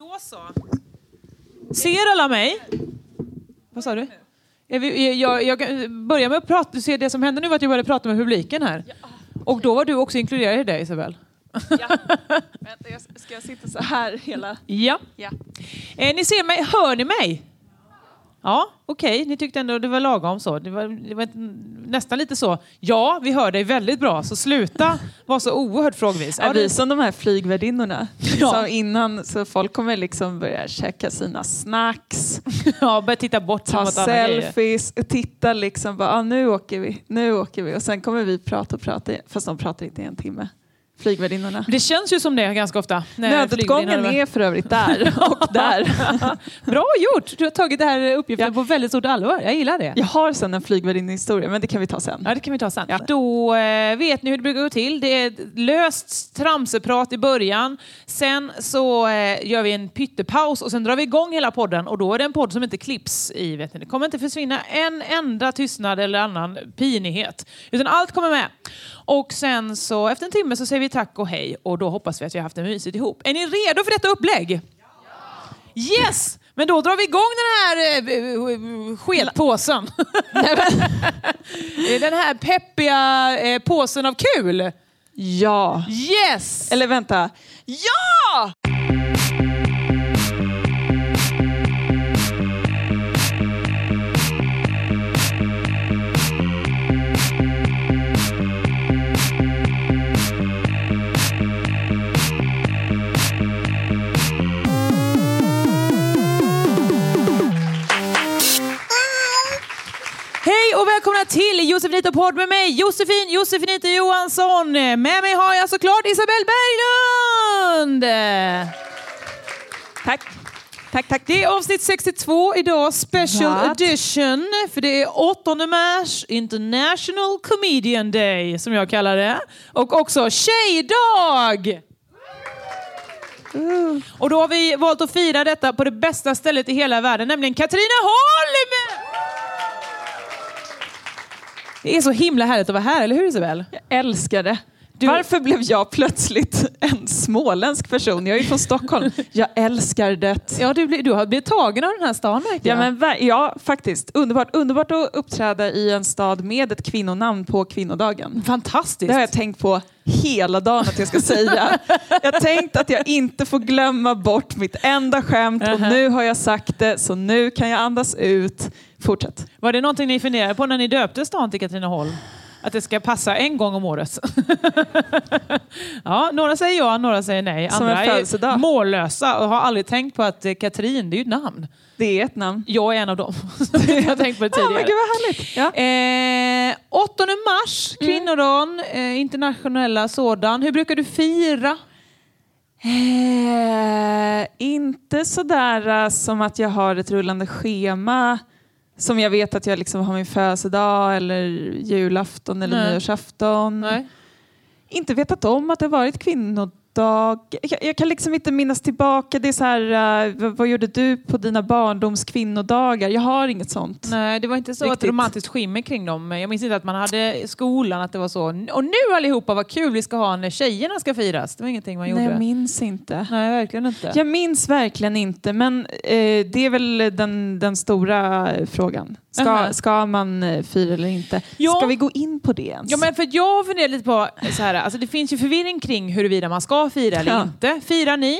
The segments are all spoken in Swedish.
Då så. Ser alla mig? Vad sa du? Är vi, är- jag, jag kan börja med att prata. Du ser det som hände nu var att jag började prata med publiken här. Och då var du också inkluderad i det Isabel. Vänta, jag, ska jag sitta så här hela... Ja. Ja. Eh, ni ser mig, hör ni mig? Ja, okej, ni tyckte ändå det var lagom så. Det var, det var ett, nästan lite så. Ja, vi hör dig väldigt bra, så sluta vara så oerhört frågvis. Ja, Är vi det, som de här flygvärdinnorna? Ja. Som innan, så folk kommer liksom börja käka sina snacks, ja, börja titta bort ta mot andra grejer. selfies, och titta liksom bara, ah, nu åker vi, nu åker vi. Och sen kommer vi prata och prata, i- fast de pratar inte i en timme. Flygvärdinnorna. Det känns ju som det ganska ofta. när Nödutgången flygvärdinnan- är för övrigt där och där. Bra gjort! Du har tagit den här uppgiften på väldigt stort allvar. Jag gillar det. Jag har sen en flygvärdinnehistoria, men det kan vi ta sen. Ja, det kan vi ta sen. Då eh, vet ni hur det brukar gå till. Det är ett löst tramseprat i början. Sen så eh, gör vi en pyttepaus och sen drar vi igång hela podden. Och då är det en podd som inte klipps i. Vet ni. Det kommer inte försvinna en enda tystnad eller annan pinighet. Utan allt kommer med. Och sen så efter en timme så säger vi tack och hej. Och då hoppas vi att vi har haft det mysigt ihop. Är ni redo för detta upplägg? Yes! Men då drar vi igång den här eh, sketpåsen. Eh, den här peppiga eh, påsen av kul. Ja. Yes! Eller vänta. Ja! Hej och välkomna till Josefinito podd med mig Josefin Josefinito Johansson. Med mig har jag såklart Isabel Berglund. Tack. Tack, tack. Det är avsnitt 62 idag, special What? edition. För det är 8 mars, International Comedian Day som jag kallar det. Och också tjejdag! Och då har vi valt att fira detta på det bästa stället i hela världen, nämligen Katrineholm! Det är så himla härligt att vara här, eller hur Isabel? älskar det. Varför blev jag plötsligt en småländsk person? Jag är ju från Stockholm. Jag älskar det. Ja, du, blir- du har blivit tagen av den här stan märker Ja, jag. men, ver- ja, faktiskt. Underbart. Underbart att uppträda i en stad med ett kvinnonamn på kvinnodagen. Fantastiskt! Det har jag tänkt på hela dagen att jag ska säga. Jag har tänkt att jag inte får glömma bort mitt enda skämt och nu har jag sagt det så nu kan jag andas ut. Fortsätt. Var det någonting ni funderade på när ni döpte stan till Katrineholm? Att det ska passa en gång om året? ja, några säger ja, några säger nej. Som en Andra är födelsedag. mållösa och har aldrig tänkt på att eh, Katrin, det är ju ett namn. Det är ett namn. Jag är en av dem. Jag har tänkt på det Åh, men tidigare. gud vad härligt. Ja. Eh, 8 mars, Mm. kvinnodagen, eh, internationella sådan. Hur brukar du fira? Eh, inte sådär eh, som att jag har ett rullande schema som jag vet att jag liksom har min födelsedag eller julafton eller Nej. nyårsafton. Inte vetat om att det har varit kvinnodag. Jag, jag kan liksom inte minnas tillbaka. Det är så här, eh, v- vad gjorde du på dina barndoms kvinnodagar? Jag har inget sånt. Nej, det var inte så att det Riktigt. romantiskt skimmer kring dem. Jag minns inte att man hade i skolan att det var så. Och nu allihopa, vad kul vi ska ha när tjejerna ska firas. Det var ingenting man gjorde. Nej, jag minns inte. Nej, verkligen inte. Jag minns verkligen inte, men eh, det är väl den, den stora eh, frågan. Ska, Aha. ska man eh, fira eller inte? Ja. Ska vi gå in på det ens? Ja, men för jag funderar lite på, så här, alltså det finns ju förvirring kring huruvida man ska fira eller Ja. inte. Firar ni?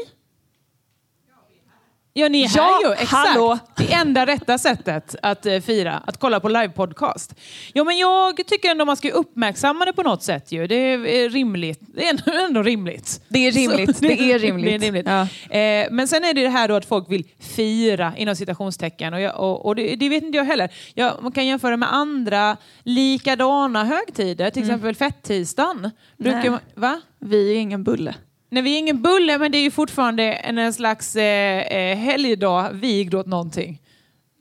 Ja, ni är Ja, här ju. Exakt. hallå. Det enda rätta sättet att eh, fira, att kolla på livepodcast. Ja, men jag tycker ändå man ska ju uppmärksamma det på något sätt ju. Det är eh, rimligt. Det är ändå- ändå rimligt. Det är rimligt. Så- Det är rimligt. Det är rimligt. Eh, men sen är det det här då att folk vill fira inom citationstecken och, jag, och, och det, det vet inte jag heller. Jag, man kan jämföra med andra likadana högtider, till Mm. exempel fettisdagen. Brukar Nej. man, va? Vi är ingen bulle. Nej, vi är ingen bulle, men det är ju fortfarande en, en slags eh, eh, helgdag vigd åt någonting.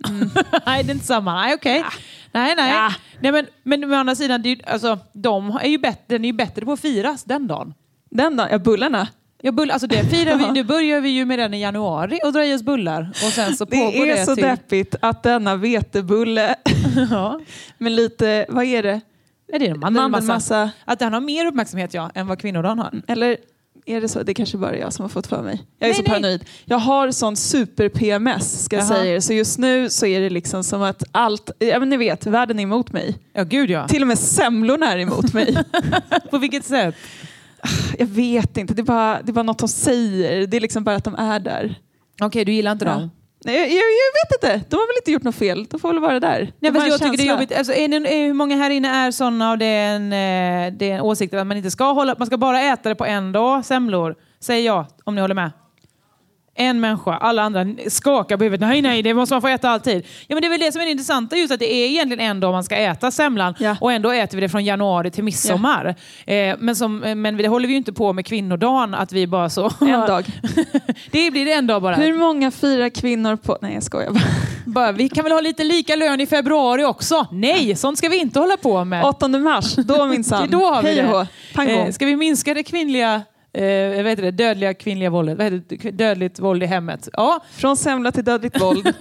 Mm. nej, det är inte samma. Nej, okej. Ah. Nej, nej. nej men, men å andra sidan, det är ju, alltså, de är ju bättre, den är ju bättre på att firas den dagen. Den dagen, ja bullarna. Ja, bull, alltså det firar vi, nu börjar vi ju med den i januari och drar i oss bullar. Och sen så Det pågår är det, så till... deppigt att denna vetebulle Ja. med lite, vad är det? Ja, det är en mandelmassa. Mandelmassa. Att den har mer uppmärksamhet ja, än vad kvinnodagen har. Eller är det så? Det kanske bara är jag som har fått för mig. Jag är Nej, nej. så paranoid. Jag har sån super-PMS ska jag Jaha. säga er. Så just nu så är det liksom som att allt, ja men ni vet, världen är emot mig. Ja, gud ja. Till och med semlorna är emot mig. Typ, På vilket sätt? jag vet inte, det är, bara, det är bara något de säger. Det är liksom bara att de är där. Okej, du gillar inte Ja. dem? Nej, jag, jag, jag vet inte, de har väl inte gjort något fel. De får väl vara där. Det Nej, var fast en jag tycker det är känsla. jobbigt. Alltså, är det, är, hur många här inne är sådana och det är en, eh, det är en åsikt att man inte ska hålla, man ska bara äta det på en dag, semlor? Säger jag, om ni håller med. En människa, alla andra skakar på huvudet. Nej, nej, det måste man få äta alltid. Ja, men det är väl det som är det intressanta, just att det är egentligen en dag man ska äta semlan Ja. och ändå äter vi det från januari till midsommar. Eh, men, som, eh, men det håller vi ju inte på med kvinnodagen, att vi bara så... En dag. det blir det en dag bara. Hur många firar kvinnor på... Nej, jag skojar bara. Bara, vi kan väl ha lite lika lön i februari också? Nej, sånt ska vi inte hålla på med. 8 mars, då minsann. Det är då har vi Hej det. och hå. Pang Eh, bom. ska vi minska det kvinnliga eh, vad heter det, dödliga kvinnliga våldet? Vad heter det, Kv- dödligt våld i hemmet? Ja, Från semla till dödligt våld.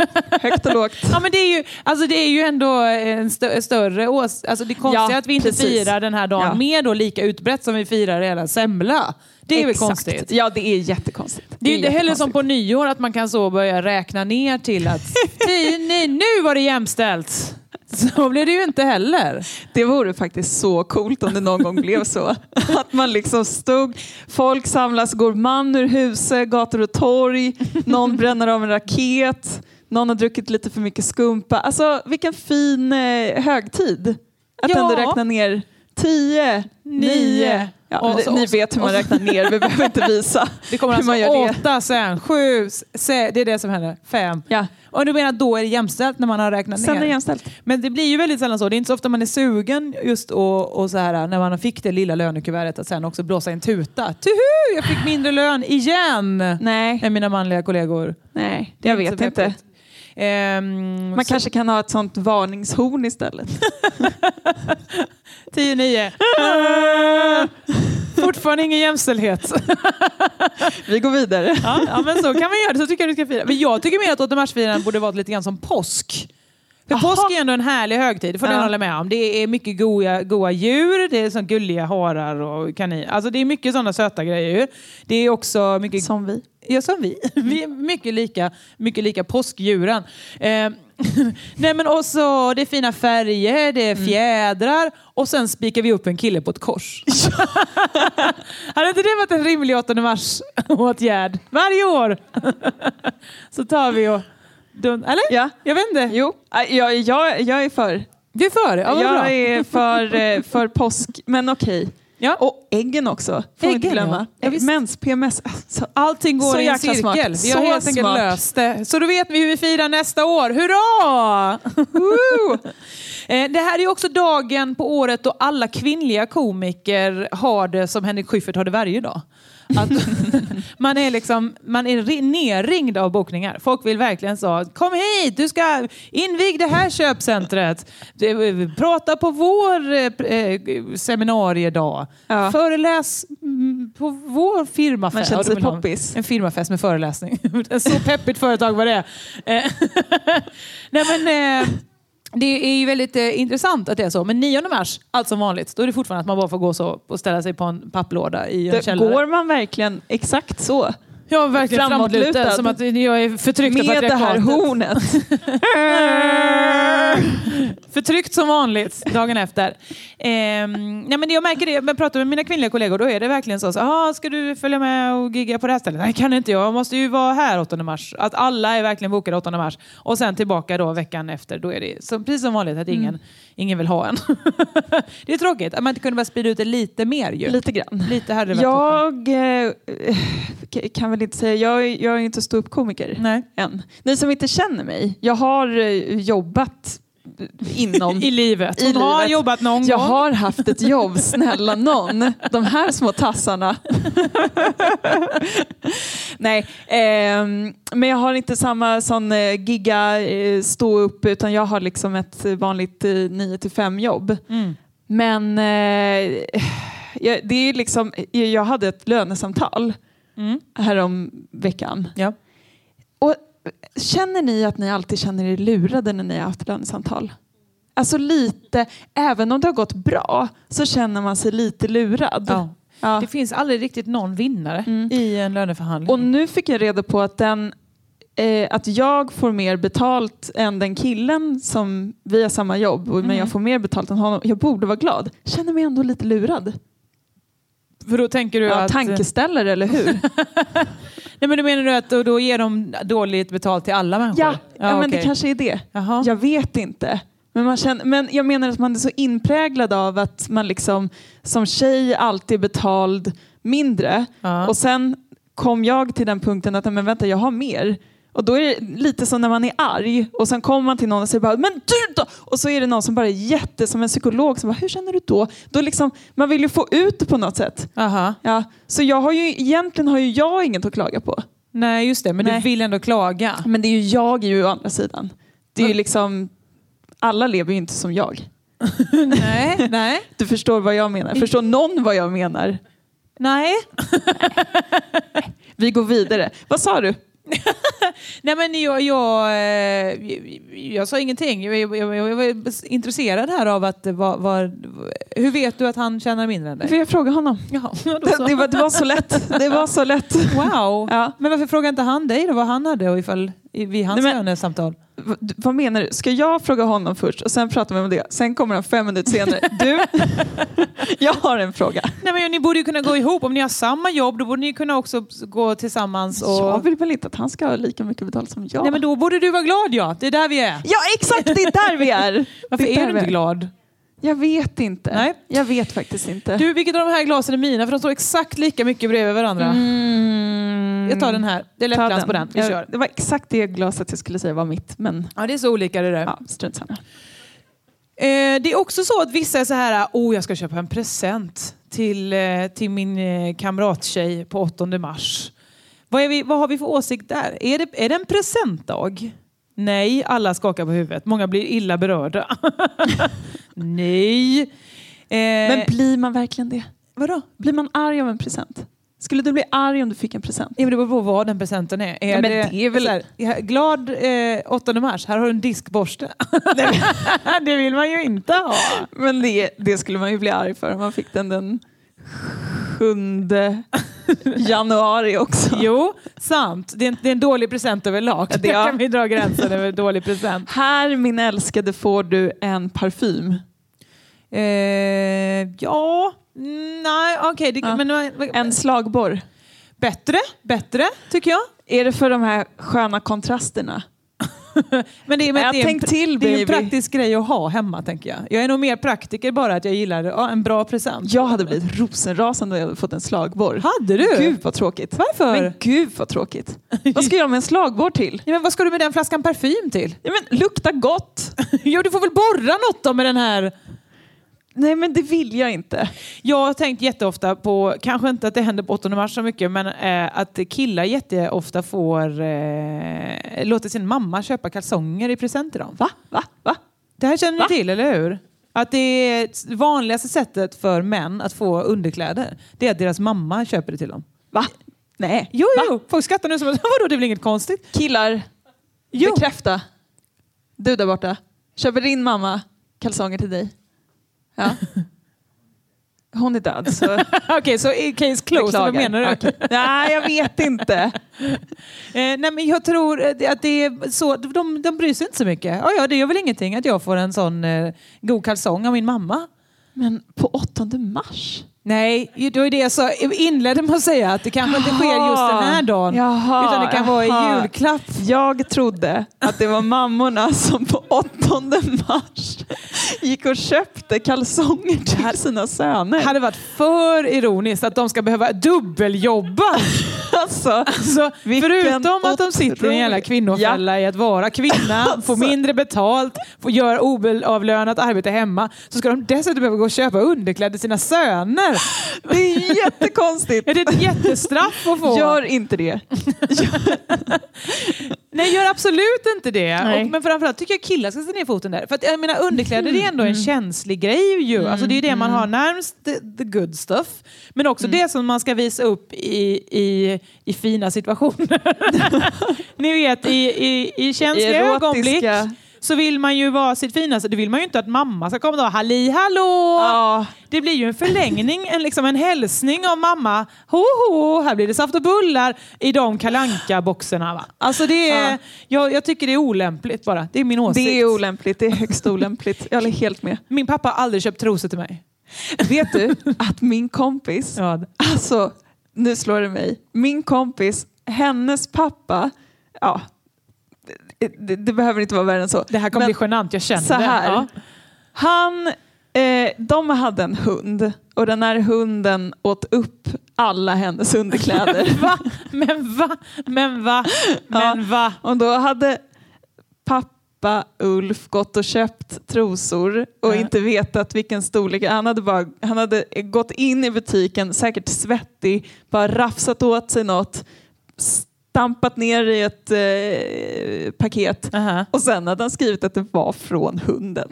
Högt och lågt. ja men det är, ju, alltså det är ju ändå en stö- större ås... Alltså det konstiga Ja, att vi inte precis. firar den här dagen Ja. mer då lika utbrett som vi firar hela semla. Det är väl konstigt? Ja, det är jättekonstigt. Det är ju inte heller som på nyår att man kan så börja räkna ner till att tio, nej, nu var det jämställt. Så blir det ju inte heller. Det vore faktiskt så coolt om det någon gång blev så. Att man liksom stod, folk samlas, går man ur huset, gator och torg, någon bränner av en raket, någon har druckit lite för mycket skumpa. Alltså vilken fin eh, högtid. Att Ja. ändå räkna ner tio, nio. Ja, Och ni- så- ni vet hur man räknar ner, vi behöver inte visa Det kommer hur man alltså gör det. åtta, sen sju, se, det är det som händer, fem. Ja. Och du menar att då är det jämställt när man har räknat Sen är ner? det jämställt. Men det blir ju väldigt sällan så. Det är inte så ofta man är sugen just och, och så här när man fick det lilla lönekuvertet att sen också blåsa i en tuta. Tuhu, jag fick mindre lön igen! Nej, Än mina manliga kollegor. nej Det är jag inte vet så inte. vettigt. Ehm, Man så- kanske kan ha ett sånt varningshorn istället. 10-9. Fortfarande ingen jämställdhet. Vi går vidare. Ja, ja, men så kan man göra. Så tycker jag du ska fira. Men jag tycker mer att 8 mars-firaren borde vara lite grann som påsk. För påsk är ändå en härlig högtid, det får Ja. den hålla med om. Det är mycket goa, goa djur, det är så gulliga harar och kaniner. Alltså det är mycket sådana söta grejer. ju. Det är också mycket... Som vi. Ja, som vi. Vi är mycket lika, mycket lika påskdjuren. Eh, nej, men också det är fina färger, det Mm. är fjädrar och sen spikar vi upp en kille på ett kors. Hade inte det varit en rimlig 8 mars-åtgärd? Varje år! Så tar vi och... Dun, eller? Ja. Jag vet inte. Jo, äh, jag, jag, jag är för. Du är för det? Ja, vad jag bra. är för, eh, för påsk, men okej. Ja. Och äggen också, får vi inte Äggen, glömma. ja. Ja, visst. Mens, PMS. Alltså, Allting går Så i en jäkla cirkel. smart. Vi har Så helt enkelt smart. löst det. Så då vet vi hur vi firar nästa år. Hurra! Eh, det här är ju också dagen på året då alla kvinnliga komiker har det som Henrik Schyffert har det varje dag. Att man är, liksom, man är ri- nerringd av bokningar. Folk vill verkligen så, kom hit, du ska invig det här köpcentret. Du, Prata på vår eh, pr- eh, seminariedag. Ja. Föreläs mm, på vår firma Man känner Ja, de sig vill ha en- poppis. En firmafest med föreläsning. Ett så peppigt företag var det. Eh, Nej, men, eh, det är ju väldigt eh, intressant att det är så. Men 9 mars, allt som vanligt, då är det fortfarande att man bara får gå så och ställa sig på en papplåda i en det, källare. går man verkligen exakt så? Ja, verkligen Framåtlutad. framåtlutad. Som att jag är förtryckt av Med det här patriarkatet. hornet. förtryckt som vanligt dagen efter. Ehm, nej, men det jag märker det, men pratar med mina kvinnliga kollegor, då är det verkligen så. så ah, ska du följa med och gigga på det här stället? Nej, kan inte jag. Jag måste ju vara här 8 mars. Att alla är verkligen bokade 8 mars. Och sen tillbaka då veckan efter. Då är det som, precis som vanligt att ingen, Mm. ingen vill ha en. det är tråkigt att man inte kunde bara sprida ut det lite mer ju. Lite grann. Lite hade det varit toppen. Jag eh, k- kan väl inte säga, jag, är- jag är inte ståuppkomiker Nej. än. Ni som inte känner mig, jag har eh, jobbat inom... I livet. i Hon har livet. jobbat någon jag gång. har haft ett jobb, snälla någon. De här små tassarna. Nej, ehm, men jag har inte samma sån eh, gigga eh, stå upp utan jag har liksom ett eh, vanligt eh, 9 till 5 jobb. Mm. Men eh, jag, det är ju liksom, jag hade ett lönesamtal härom veckan. Ja. Och känner ni att ni alltid känner er lurade när ni har haft lönesamtal? Alltså lite, även om det har gått bra så känner man sig lite lurad. Ja. Ja. Mm. Det finns aldrig riktigt någon vinnare i en löneförhandling. Och nu fick jag reda på att, den, eh, att jag får mer betalt än den killen som vi har samma jobb och- Mm. men jag får mer betalt än honom. Jag borde vara glad. Känner mig ändå lite lurad. För då tänker du Ja, att... tankeställare eller hur? Nej, men du menar du att då, då ger de dåligt betalt till alla människor? ja, ja, men det okej. kanske är det. Jaha. Jag vet inte. Men, man känner, men jag menar att man är så inpräglad av att man liksom som tjej alltid är betald mindre. Ja. Och sen kom jag till den punkten att men vänta, jag har mer. Och då är det lite som när man är arg och sen kommer man till någon och säger bara, men du då! Och så är det någon som bara är jätte, som en psykolog som bara, hur känner du då? då liksom, man vill ju få ut det på något sätt. Aha. Ja, så jag har ju, egentligen har ju jag inget att klaga på. Nej, just det. Men Nej. du vill ändå klaga. Men det är ju jag är ju å andra sidan. Det är ju liksom, alla lever ju inte som jag. nej, nej. Du förstår vad jag menar. Förstår Mm. någon vad jag menar? Nej. Vi går vidare. Vad sa du? Nej, men jag, jag, eh, jag, jag sa ingenting. Jag, jag, jag, jag var intresserad här av att... eh, Vad, vad, hur vet du att han tjänar mindre än Får dig? jag fråga honom? Jaha, då Det, så. det, var, det var så lätt. Det var så lätt. Wow! Ja. Men varför frågar inte han dig då vad han hade och ifall, i- vid hans Nej, men- lönesamtal? V- d- Vad menar du? Ska jag fråga honom först och sen pratar vi om det? Sen kommer han fem minuter senare. Du, jag har en fråga. Nej, men ni borde ju kunna gå ihop. Om ni har samma jobb då borde ni kunna också gå tillsammans. Och... Jag vill väl inte att han ska ha lika mycket betalt som jag? Nej, men då borde du vara glad ja. Det är där vi är. Ja, exakt! Det är där vi är. Varför Det är där du vi inte glad? Jag vet inte. Nej. Jag vet faktiskt inte. Du, vilket av de här glasen är mina? För de står exakt lika mycket bredvid varandra. Mm. Jag tar den här. Det är Ta lättglans på den. Vi Jag- kör. Det var exakt det glaset jag skulle säga var mitt, men Ja, det är så olika det där. ja, strunt samma. Eh, det är också så att vissa är så här, oh jag ska köpa en present till, eh, till min eh, kamrattjej på 8 mars. Vad, är vi, vad har vi för åsikt där? Är det, är det en presentdag? Nej, alla skakar på huvudet. Många blir illa berörda. Nej. Eh, Men blir man verkligen det? vadå? Blir man arg av en present? Skulle du bli arg om du fick en present? Ja, men det beror på vad den presenten är. är Ja, men det är väl- så här, glad eh, 8 mars, här har du en diskborste. det vill man ju inte ha. Men det, det skulle man ju bli arg för om man fick den den 7 januari också. Jo, sant. Det är en, det är en dålig present överlag. Ja, det- Där kan vi dra gränsen över dålig present. Här min älskade får du en parfym. Eh, Eh, ja, mm, nej, okej. det- Ja. men vad- vad- En slagborr. Bättre, bättre tycker jag. Är det för de här sköna kontrasterna? Men det, är- men Ja, det är en, tänk till, det är en baby. praktisk grej att ha hemma tänker jag. Jag är nog mer praktiker bara att jag gillar ja, en bra present. Jag hade blivit rosenrasande om jag hade fått en slagborr. Hade du? Gud vad tråkigt. Varför? Men gud vad tråkigt. Vad ska jag göra med en slagborr till? Ja, men vad ska du med den flaskan parfym till? Ja, men lukta gott. Jo, du får väl borra något då med den här. Nej men det vill jag inte. Jag har tänkt jätteofta på, kanske inte att det händer på 8 mars så mycket, men eh, att killar jätteofta får, eh, låter sin mamma köpa kalsonger i present till dem. Va? Va? Va? Det här känner ni till, eller hur? Att det är det vanligaste sättet för män att få underkläder, det är att deras mamma köper det till dem. Va? Nej. Jo, jo, folk skrattar nu som att vadå, det är väl inget konstigt? Killar, Jo. bekräfta. Du där borta. Köper din mamma kalsonger till dig? Ja. Hon är död. Så Okej, så i case closed, vad menar du? Okej. Nej, jag vet inte. Eh, nej, men jag tror eh, att det är så, de, de bryr sig inte så mycket. Ja, ja, det gör väl ingenting att jag får en sån eh, god kalsong av min mamma. Men på 8 mars? Nej, ju- det var ju det jag sa. Jag inledde med att säga att det kanske inte sker just den här dagen. Jaha, utan det kan vara i jaha. julklapp. Jag trodde att det var mammorna som på 8 mars gick och köpte kalsonger till sina Det söner. hade varit för ironiskt att de ska behöva dubbeljobba. Alltså, Så Vilken förutom att de sitter i en jävla otrolig- kvinnofälla i att vara kvinna, Alltså. får mindre betalt, får göra obelavlönat arbete hemma, så ska de dessutom behöva gå och köpa underkläder till sina söner. det är jättekonstigt. Är det ett jättestraff att få? Gör inte det. Nej, gör absolut inte det. Nej. Och, men framförallt tycker jag killar ska sätta ner foten där. För att jag menar, underkläder är ändå en Mm. känslig grej ju. Alltså, det är ju det man har närmst the, the good stuff. Men också Mm. det som man ska visa upp i, i, i fina situationer. Ni vet, i, i, i känsliga I erotiska- ögonblick så vill man ju vara sitt finaste. Då vill man ju inte att mamma ska komma och halli hallå! Ja. Det blir ju en förlängning, en, liksom en hälsning av mamma. Ho, ho, här blir det saft och bullar i de kalanka boxerna va? Alltså det är, Ja. jag, jag tycker det är olämpligt bara. Det är min åsikt. Det är olämpligt. Det är högst olämpligt. Jag håller helt med. min pappa har aldrig köpt trosor till mig. Vet du att min kompis Ja. Alltså, nu slår det mig. Min kompis, hennes pappa, ja, det, det, det behöver inte vara värre än så. Det här kommer Men bli genant, jag känner så det. här. Ja. Han, eh, de hade en hund och den här hunden åt upp alla hennes underkläder. Va? Men va? Men va? Men va? och då hade pappa Ulf gått och köpt trosor och Ja. inte vetat vilken storlek. Han hade, bara, han hade gått in i butiken, säkert svettig, bara rafsat åt sig något, stampat ner i ett eh, paket Aha. och sen hade han skrivit att det var från hunden.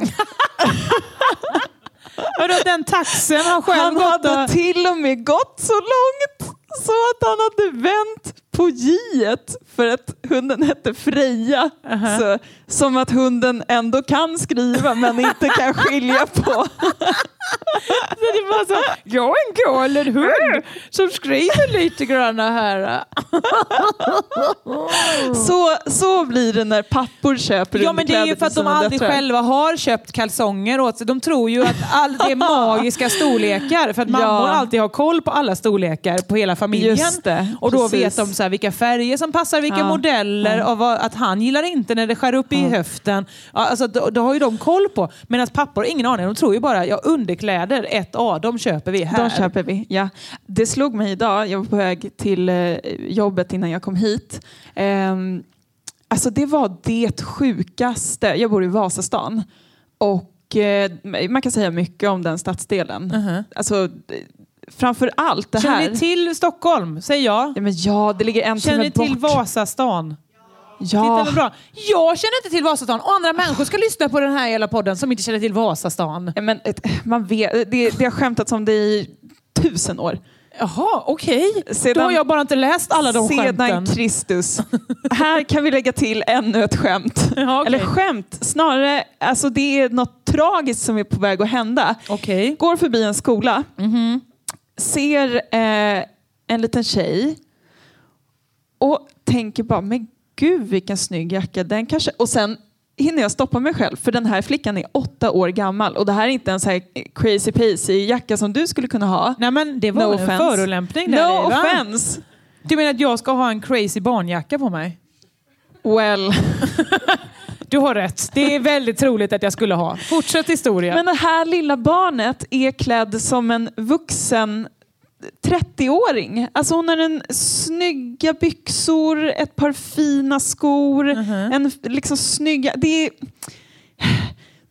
Vadå, den taxen har själv Han gått hade och... till och med gått så långt så att han hade vänt på j för att hunden hette Freja. så, som att hunden ändå kan skriva men inte kan skilja på. Det var så, jag är en galen hund som skriver lite grann här. Så, så blir det när pappor köper Ja men det är ju underkläder för att till de sina aldrig döttrar. själva har köpt kalsonger åt sig. De tror ju att all, det är magiska storlekar för att mammor Ja. alltid har koll på alla storlekar på hela familjen. Just det, och då precis. vet de så här, vilka färger som passar, vilka Ja. modeller och vad, att han gillar inte när det skär upp i höften. Ja, alltså, då, då har ju de koll på. Medan pappor har ingen aning. De tror ju bara, ja underkläder 1A, de köper vi här. De köper vi, ja. Det slog mig idag, jag var på väg till eh, jobbet innan jag kom hit. Ehm, alltså det var det sjukaste. Jag bor i Vasastan och eh, man kan säga mycket om den stadsdelen. Alltså, eh, framför allt det här. Uh-huh. Känner ni till Stockholm? Säger jag. Ja, men ja, det ligger en Känner ni timme bort. till Vasastan? Ja. Titta vad bra. Jag känner inte till Vasastan och andra människor ska lyssna på den här hela podden som inte känner till Vasastan. Ja, Men, ett- man vet, eh, det, det har skämtats om det i tusen år. Jaha, okej. Då Sedan- har jag bara inte läst alla de Sedan skämten. Kristus. Här kan vi lägga till ännu ett skämt. Ja, okej. Eller skämt, snarare, alltså det är något tragiskt som är på väg att hända. Okej. Går förbi en skola, Mhm. ser eh, en liten tjej och tänker bara, men gud vilken snygg jacka den kanske... Och sen hinner jag stoppa mig själv för den här flickan är åtta år gammal och det här är inte en så här crazy pacy jacka som du skulle kunna ha. Nej men det var No en offense. förolämpning. där, no va? offense! Du menar att jag ska ha en crazy barnjacka på mig? Well... Du har rätt. Det är väldigt troligt att jag skulle ha. Fortsätt historia. Men det här lilla barnet är klädd som en vuxen 30-åring. Alltså hon har en snygga byxor, ett par fina skor, Mhm. en f- liksom snygga... Det, är-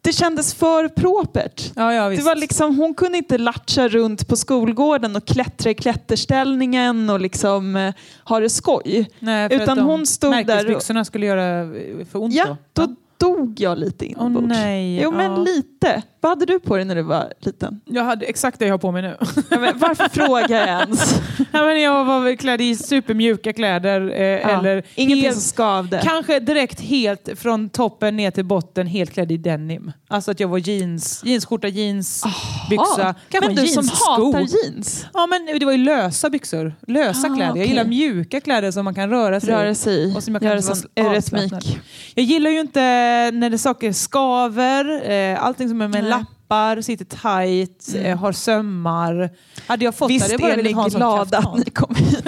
det kändes för propert. ja, ja, Det visst. var liksom, hon kunde inte latcha runt på skolgården och klättra i klätterställningen och liksom eh, ha det skoj. Nej, för att utan de hon stod där och- Märkesbyxorna skulle göra eh, för ont Ja, då. då dog jag lite inombords. Åh, nej, jo, men ja. lite. Vad hade du på dig när du var liten? Jag hade exakt det jag har på mig nu. Ja, men varför frågar jag ens? Nej, men jag var väl klädd i supermjuka kläder. Eh, eller Ingenting helt- som skavde. Kanske direkt helt från toppen ner till botten helt klädd i denim. Alltså att jag var jeans, jeansskjorta, jeans, byxa. Kanske men en du som jeanssko. hatar jeans. Ja men det var ju lösa byxor. Lösa Ah, kläder. Jag okej. gillar mjuka kläder som man kan röra sig i. Röra sig i, Och som jag kan göra vara sig i avslappnad. rytmik. Jag gillar ju inte när det saker skaver, eh, allting som är med lappar, sitter tight, eh, har sömmar. Hade jag fått Mm. Visst det, bara är ni velat ha en sån glada att kaftan. ni kom hit?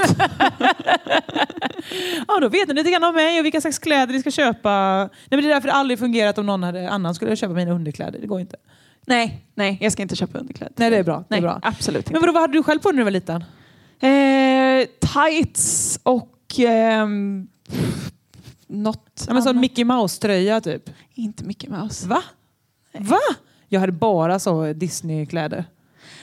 Ja, då vet ni lite grann om mig och vilka slags kläder ni ska köpa. Nej, men det är därför det aldrig fungerat om någon hade, annan skulle köpa mina underkläder. Det går inte. Nej, nej, jag ska inte köpa underkläder. Nej, det är bra. Det är Nej, bra. absolut inte. Men vadå, vad hade du själv på dig när du var liten? Eh, tights och ehm, något Ja, men sån annat. Mickey Mouse-tröja typ. Inte mycket med oss. Va? Va? Jag hade bara så Disney-kläder.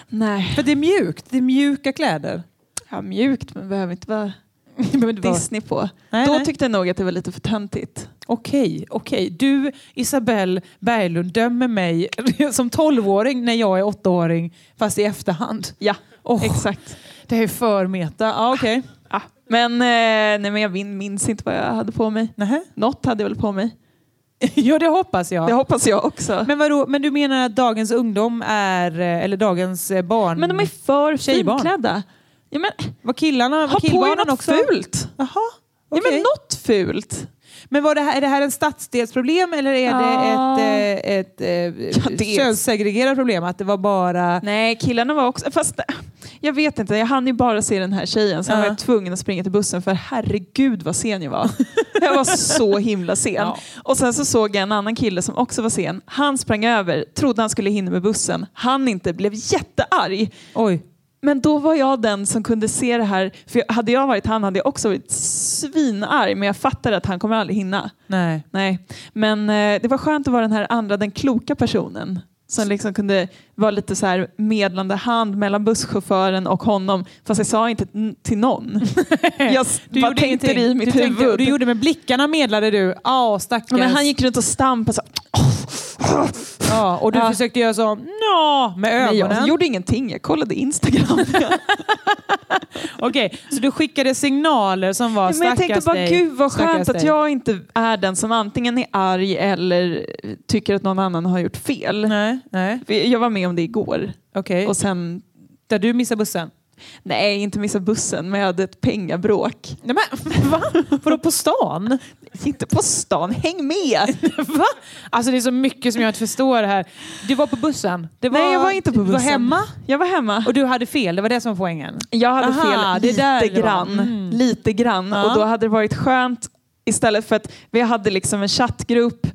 Nej. För det är mjukt. Det är mjuka kläder. Ja, mjukt men behöver inte vara Det behöver inte vara- Disney på. Nej, Då nej. tyckte jag nog att det var lite för töntigt. Okej, okej. Du, Isabelle Berglund, dömer mig som tolvåring när jag är åttaåring, fast i efterhand. Ja, Åh, exakt. Det är för meta. Ja, okej. Ja. Men, eh, nej, men jag min- minns inte vad jag hade på mig. Nähä. Något hade jag väl på mig. Ja, det hoppas jag. Det hoppas jag också. Men, Men, vadå, men du menar att dagens ungdom är, eh, eller dagens eh, barn... de är för Tjejbarn. finklädda. Ja, men, Var killarna, var ha på er killbarnen något också? fult. Jaha, Ja, okej. men något fult. Men var det här, är det här en stadsdelsproblem eller är Ja. det ett, eh, ett Ja, eh, dels. könssegregerat problem? Att det var bara... Nej, killarna var också... Fast jag vet inte, jag hann ju bara se den här tjejen. Sen Ja. var jag tvungen att springa till bussen för herregud vad sen jag var. Jag var så himla sen. Ja. Och sen så såg jag en annan kille som också var sen. Han sprang över, trodde han skulle hinna med bussen. Han inte, blev jättearg. Oj. Men då var jag den som kunde se det här. För jag- hade jag varit han hade jag också varit svinarg. Men jag fattade att han kommer aldrig hinna. Nej. Nej, men eh, det var skönt att vara den här andra, den kloka personen som liksom kunde vara lite så här medlande hand mellan busschauffören och honom. Fast jag sa inte n- till någon. jag s- bara tänkte det i ingenting. mitt du huvud. Tänkte, du gjorde med blickarna medlade du. Ja, stackars. Ja, men han gick runt och stampade så. ja, och du Ja. försökte göra så. Nå, med Nej, ögonen. jag gjorde ingenting, jag kollade Instagram. Okej, så du skickade signaler som var men jag stackars tänkte bara, dig. gud vad stackars skönt att dig." jag inte är den som antingen är arg eller eh, tycker att någon annan har gjort fel. Nej, nej. För Jag var med om det igår Okej. och sen, Där du missade bussen. nej inte missa bussen, men jag hade ett pengabråk. Nej men va? Vadå på stan? Inte på stan, häng med! Va? Alltså det är så mycket som jag inte förstår här. Du var på bussen. Det var, Nej, jag var inte på Du var bussen. hemma Jag var hemma. och du hade fel. Det var det som var poängen. Jag hade Aha, fel det är där lite det var. grann. Mm. Lite grann. Ja. Och då hade det varit skönt istället för att vi hade liksom en chattgrupp.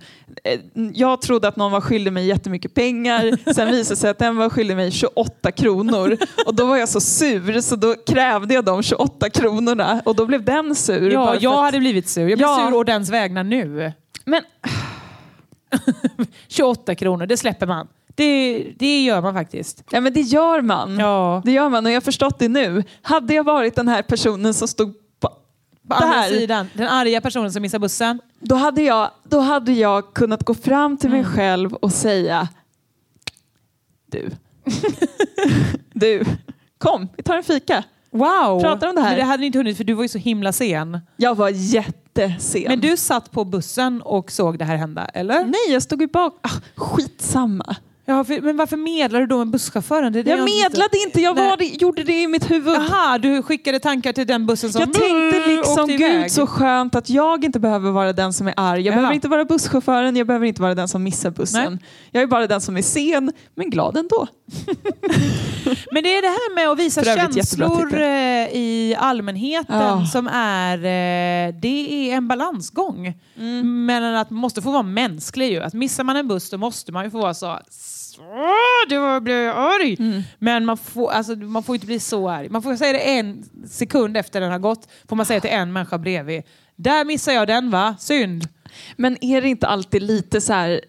Eh, Jag trodde att någon var skyldig mig jättemycket pengar. Sen visade det sig att den var skyldig mig 28 kronor. Och då var jag så sur så då krävde jag de 28 kronorna. Och då blev den sur. bara Ja, för jag att- hade blivit sur. Jag blir Ja. sur å dens vägnar nu. Men 28 kronor, det släpper man. Det, det gör man faktiskt. Ja men det gör man. Ja. Det gör man och jag har förstått det nu. Hade jag varit den här personen som stod på På andra där, sidan, den arga personen som missar bussen. då, hade jag, då hade jag kunnat gå fram till Mm. mig själv och säga Du. du. Kom, vi tar en fika. Wow! Pratar om det här. Men det hade ni inte hunnit för du var ju så himla sen. Jag var jättesen. Men du satt på bussen och såg det här hända, eller? Nej, jag stod ju bak. Ah, skitsamma. Ja, för, men varför medlar du då med busschauffören? Det är det Jag inte- medlade inte, jag Nej. var, det- gjorde det i mitt huvud. Aha, du skickade tankar till den bussen som Jag tänkte liksom, åkte iväg. gud så skönt att jag inte behöver vara den som är arg. Jag Ja. behöver inte vara busschauffören, jag behöver inte vara den som missar bussen. Jag är bara den som är sen, men glad ändå. Men det är det här med att visa För övrigt jättebra känslor titel. eh, i allmänheten Ja. som är... eh, Det är en balansgång. Mm. Men att man måste få vara mänsklig ju. Att missar man en buss då måste man ju få vara så... "Så, Då blev jag arg. Mm. Men man får, alltså, man får inte bli så arg. Man får säga det en sekund efter den har gått. Får man säga till en människa bredvid. Där missar jag den va? Synd. Men är det inte alltid lite så här, ä-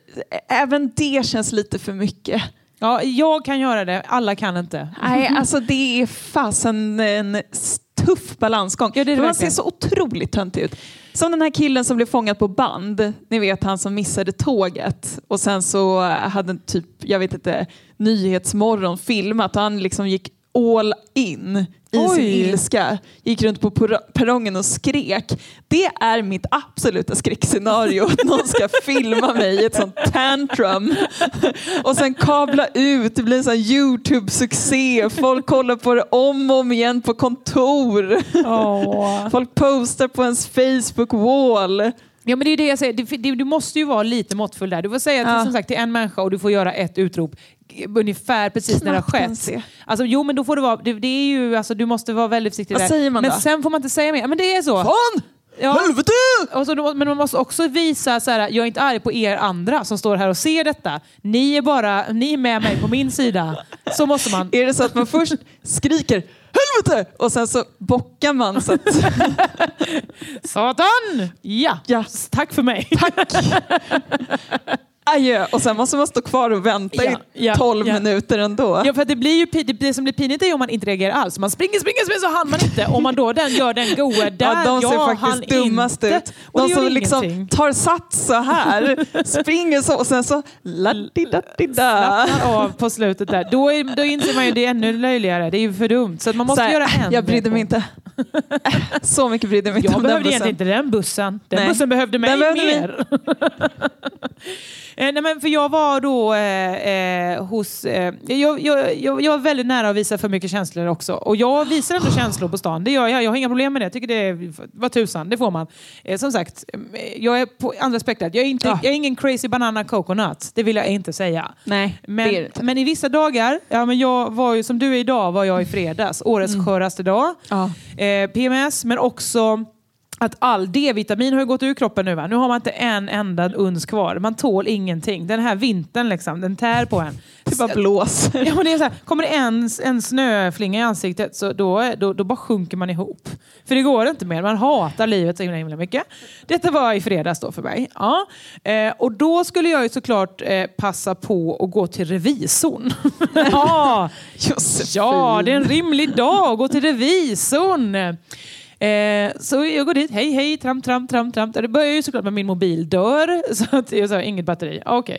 även det känns lite för mycket. Ja, jag kan göra det. Alla kan inte. Nej, alltså det är fasen en s- tuff balansgång. Ja, det är det För man ser verkligen. så otroligt töntig ut. Som den här killen som blev fångad på band. Ni vet han som missade tåget och sen så hade en typ, jag vet inte, Nyhetsmorgon filmat och han liksom gick all in i sin Oj. ilska. Gick runt på por- perrongen och skrek. Det är mitt absoluta skräckscenario att någon ska filma mig i ett sånt tantrum och sen kabla ut. Det blir en sån här Youtube-succé. Folk kollar på det om och om igen på kontor. Folk postar på ens Facebook-wall. Ja, men det är ju det jag säger. Du, det- du måste ju vara lite måttfull där. Du får säga till, Ja. som sagt, till en människa och du får göra ett utrop g- ungefär precis när det har Knappt skett. ens det. Alltså, jo, men då får du vara... Det, det är ju, alltså, du måste vara väldigt försiktig Vad där. säger man men då? sen får man inte säga mer. Ja, Men det är så. Fan! Ja. Helvete! Och så, då- men man måste också visa så här, jag är inte arg på er andra som står här och ser detta. Ni är bara, ni är med mig på min sida. Så måste man. Är det så att man först skriker helvete och sen så bockar man så att Satan! Ja, Ja. tack för mig. adjö och sen måste man stå kvar och vänta Ja, ja, i 12 ja. minuter ändå. Ja, för att det, blir ju, pi- det, det som blir pinigt är ju om man inte reagerar alls. Man springer, springer, springer så hann man inte. Om man då den, gör den goa där, Ja, de ser jag hann faktiskt dummast inte. ut. Och det De gör som liksom ingenting. tar sats så här, springer så och sen så la-di-da-di-da. Slappnar av på slutet där. Då, är, då inser man ju det är ännu löjligare. Det är ju för dumt. Så att man måste Så här, göra en. Jag brydde mig inte. Så mycket brydde jag mig inte Jag om den behövde bussen. egentligen inte den bussen. Den Nej. bussen behövde mig Den behövde mer. Eh, Nej, men för jag var då eh, eh, hos... Eh, jag, jag, jag, jag var väldigt nära att visa för mycket känslor också. Och jag visar ändå känslor på stan. Det gör jag. Jag har inga problem med det. Jag tycker det är... Vad tusan, det får man. Eh, som sagt, eh, jag är på andra spektrat. Jag är, inte, Ja. jag är ingen crazy banana coconut. Det vill jag inte säga. Nej, Men, det är det inte. men i vissa dagar, ja, men jag var ju, som du är idag var jag i fredags, årets sköraste dag. Mm. Ja. Eh, PMS, men också att all D-vitamin har ju gått ur kroppen nu. Va? Nu har man inte en enda uns kvar. Man tål ingenting. Den här vintern, liksom, den tär på en. Det bara blåser. Ja, men det är så här, kommer det en, en snöflinga i ansiktet så då, då, då bara sjunker man ihop. För det går inte mer. Man hatar livet så himla, himla mycket. Detta var i fredags då för mig. Ja. Eh, och då skulle jag ju såklart eh, passa på att gå till revisorn. ja, Josefin. Ja, det är en rimlig dag. Gå till revisorn. Eh, så jag går dit. Hej, hej, tramp, tramp, tramp, tramp. Det börjar ju såklart med min mobil dör. Så att jag sa, inget batteri. Ah, Okej.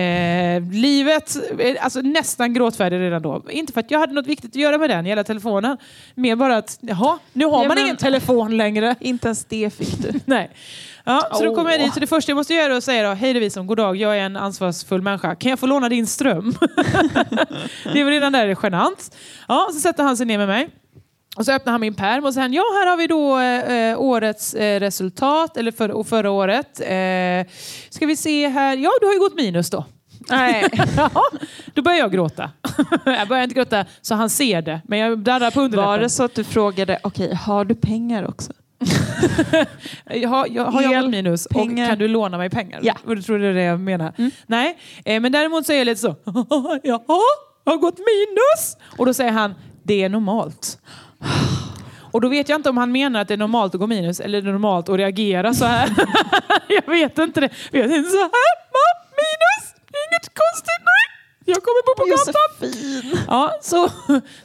Eh, livet, eh, alltså nästan gråtfärdig redan då. Inte för att jag hade något viktigt att göra med den jävla telefonen. Mer bara att, jaha, nu har Ja, man men- ingen telefon längre. Inte ens det fick du. Nej. Ja, så då kommer jag Åh. dit. Så det första jag måste göra är att säga då, hej revisorn, god dag, jag är en ansvarsfull människa. Kan jag få låna din ström? det är väl redan där det är genant. Ja, så sätter han sig ner med mig. Och så öppnar han min pärm och sen, ja här har vi då eh, eh, årets eh, resultat, eller för, och förra året. Eh, ska vi se här, ja du har ju gått minus då. Nej. Ja, då börjar jag gråta. jag börjar inte gråta så han ser det, men jag darrar på underläppen. Var det så att du frågade, okej, har du pengar också? Eh, Jag har, jag, har El, jag gått minus pengar. och kan du låna mig pengar? Ja. Mm. Och du tror det är det jag menar? Nej, eh, men däremot så är jag lite så, jaha, jag har gått minus. Och då säger han, det är normalt. Och då vet jag inte om han menar att det är normalt att gå minus eller det är normalt att reagera så här. jag vet inte det. Jag vet inte så här, va? Minus? Inget konstigt, nej. Jag kommer bo på gatan. Josefin. Ja, så,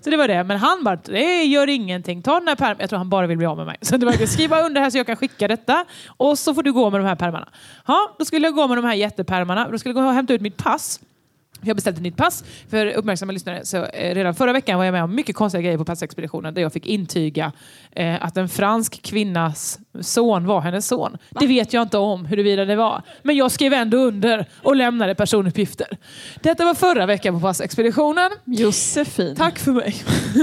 så det var det. Men han bara, det gör ingenting. Ta den här pärmen. Jag tror han bara vill bli av med mig. Så det var, skriva under här så jag kan skicka detta. Och så får du gå med de här pärmarna. Ja, då skulle jag gå med de här jättepärmarna. Då skulle jag gå och hämta ut mitt pass. För Jag beställde ett nytt pass. För uppmärksamma lyssnare, så eh, redan förra veckan var jag med om mycket konstiga grejer på passexpeditionen där jag fick intyga eh, att en fransk kvinnas son var hennes son. Det vet jag inte om huruvida det var. Men jag skrev ändå under och lämnade personuppgifter. Detta var förra veckan på passexpeditionen. Josefin. Tack för mig.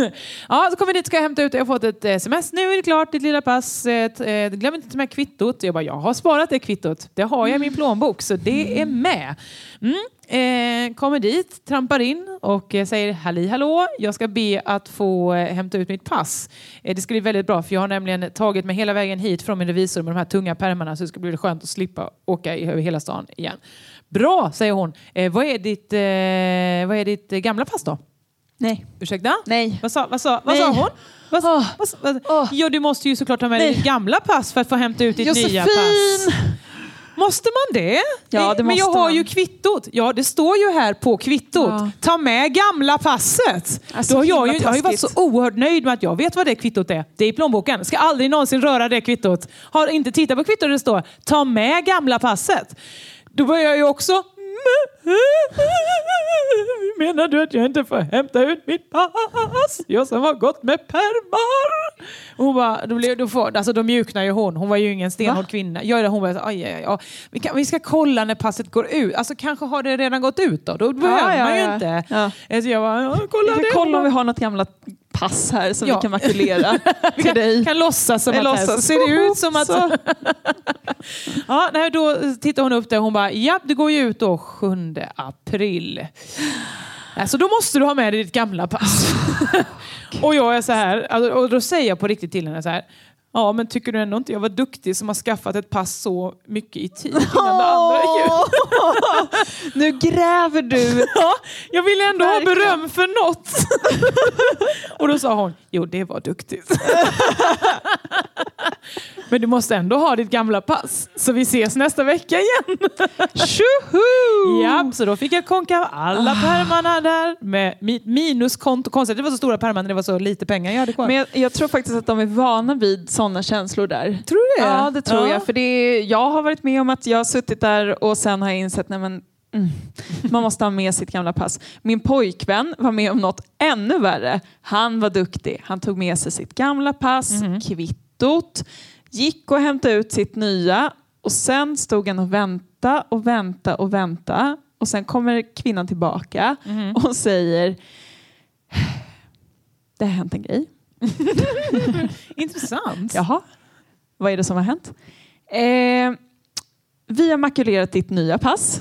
ja, så kommer jag dit ska jag hämta ut Jag har fått ett eh, sms. Nu är det klart, ditt lilla pass. Eh, t- eh, Glöm inte att ta med kvittot. Jag bara, jag har sparat det kvittot. Det har jag i min plånbok, så det är med. Mm. Eh, kommer dit, trampar in och eh, säger halli hallå. Jag ska be att få eh, hämta ut mitt pass. Eh, det ska bli väldigt bra för jag har nämligen tagit mig hela vägen hit från min revisor med de här tunga pärmarna så det ska bli skönt att slippa åka i- över hela stan igen. Bra, säger hon. Eh, vad är ditt, eh, vad är ditt eh, gamla pass då? Nej. Ursäkta? Nej. Vad sa, vad sa, vad Nej. sa hon? Vad, Åh. vad, vad, Åh. Jo, du måste ju såklart ha med dig Nej. ditt gamla pass för att få hämta ut ditt nya pass. Josefin! Måste man det? Ja, det Men jag måste har man. ju kvittot. Ja, det står ju här på kvittot. Ja. Ta med gamla passet. Alltså, Då har jag, himla ju, jag har ju varit så taskigt. oerhört nöjd med att jag vet vad det kvittot är. Det är i plånboken. Ska aldrig någonsin röra det kvittot. Har inte tittat på kvittot där det står ta med gamla passet. Då börjar jag ju också Menar du att jag inte får hämta ut mitt pass? Jag som har gått med pärmar. Hon bara, då, blev, då, får, alltså, då mjuknar ju hon. Hon var ju ingen stenhård kvinna. Jag, hon bara, aj, aj, aj, ja. vi, kan, vi ska kolla när passet går ut. Alltså kanske har det redan gått ut då. Då behöver ja, man ju ja. inte. Ja. Eh, Så jag bara, ja, kolla Vi kan det. kolla om vi har något gamla pass här som Ja. vi kan makulera till dig. kan låtsas som Vi att låtsas. låtsas. ser det ut som att... Så. ja, nej, då tittar hon upp det och hon bara, ja det går ju ut då 7 april. Alltså då måste du ha med dig ditt gamla pass. och jag är så här, alltså, och då säger jag på riktigt till henne så här, ja men tycker du ändå inte jag var duktig som har skaffat ett pass så mycket i tid innan det andra gick ut? nu gräver du. Ja, jag ville ändå Verkligen. ha beröm för något. och då sa hon, jo det var duktigt. Men du måste ändå ha ditt gamla pass, så vi ses nästa vecka igen. Tjoho! Ah. Ja, så då fick jag konka av alla pärmarna där med mitt minuskonto. Konstigt att det var så stora pärmar när det var så lite pengar jag hade kvar. Men jag, jag tror faktiskt att de är vana vid sådana känslor där. Tror du det? Ja, det tror Ja. jag. För det är, jag har varit med om att jag har suttit där och sen har jag insett nej men, mm, man måste ha med sitt gamla pass. Min pojkvän var med om något ännu värre. Han var duktig. Han tog med sig sitt gamla pass, Mhm. kvittot, gick och hämtade ut sitt nya och sen stod han och väntade och väntade och väntade. Och sen kommer kvinnan tillbaka Mhm. och säger det har hänt en grej. Intressant. Jaha, vad är det som har hänt? Eh, vi har makulerat ditt nya pass.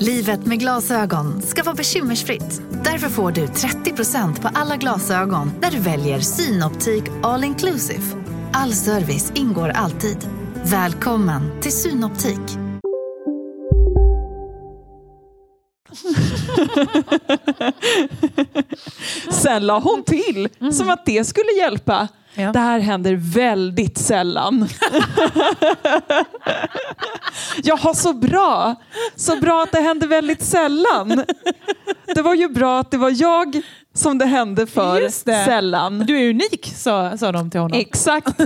Livet med glasögon ska vara bekymmersfritt. Därför får du 30% på alla glasögon när du väljer Synoptik All Inclusive. All service ingår alltid. Välkommen till Synoptik. Sen la hon till, som att det skulle hjälpa. Mm. Ja. Det här händer väldigt sällan. Jaha, så bra. Så bra att det händer väldigt sällan. Det var ju bra att det var jag som det hände för Just det. sällan. Du är unik, sa, sa de till honom. Exakt.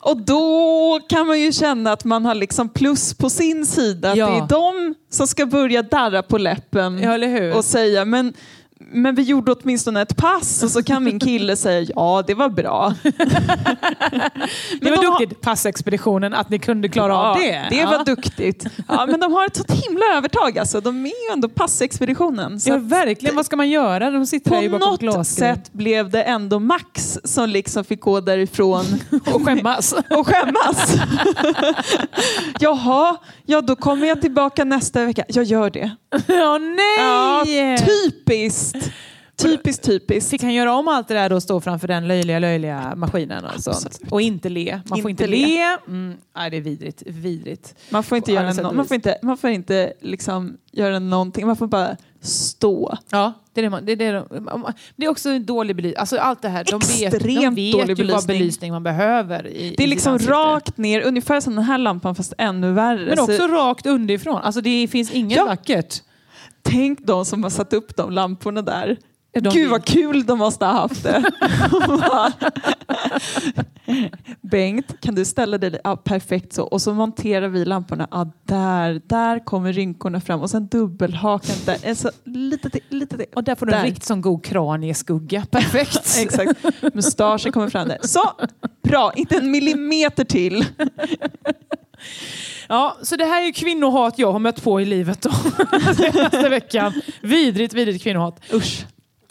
och då kan man ju känna att man har liksom plus på sin sida. Att Ja. Det är de som ska börja darra på läppen Ja, eller hur? och säga men, men vi gjorde åtminstone ett pass och så kan min kille säga ja det var bra. Det de var har- duktigt, passexpeditionen, att ni kunde klara av det. det Ja. var duktigt. Ja, men de har ett sånt himla övertag alltså. De är ju ändå passexpeditionen. Så Ja, att verkligen. Vad ska man göra? De sitter där ju på bakom något glasskrin. sätt blev det ändå Max som liksom fick gå därifrån och skämmas. och skämmas. Jaha, ja då kommer jag tillbaka nästa vecka. Jag gör det. Ja, nej! Ja, typiskt. Typiskt, typiskt. Fick han göra om allt det där då och stå framför den löjliga, löjliga maskinen och sånt? Absolut. Och inte le. Man får Inte inte le. Mm. Nej, det är vidrigt. Vidrigt. Man får inte, På göra, alla sätt no- och man vis. får inte, man får inte liksom göra någonting, man får bara stå. Ja, det är, det man, det, är det, de- det är också en dålig belysning. Alltså allt det här. De vet, de Extremt vet dålig ju vad belysning. belysning man behöver. I, Det är i liksom ansikte. rakt ner, ungefär som den här lampan fast ännu värre. Men också Så rakt underifrån. Alltså det finns inget Ja. vackert. tänk de som har satt upp de lamporna där. Är de Gud vad kul de måste ha haft det. Bengt, kan du ställa dig? Ja, perfekt så. Och så monterar vi lamporna. Ja, där, där kommer rynkorna fram. Och sen dubbelhakan där. Alltså, lite till, lite till. Och där får du en Där. riktigt sån god kranieskugga. Perfekt. Exakt. Mustaschen kommer fram där. Så, bra. Inte en millimeter till. Ja, så det här är ju kvinnohat jag har mött på i livet då, senaste veckan. Vidrigt, vidrigt kvinnohat. Usch.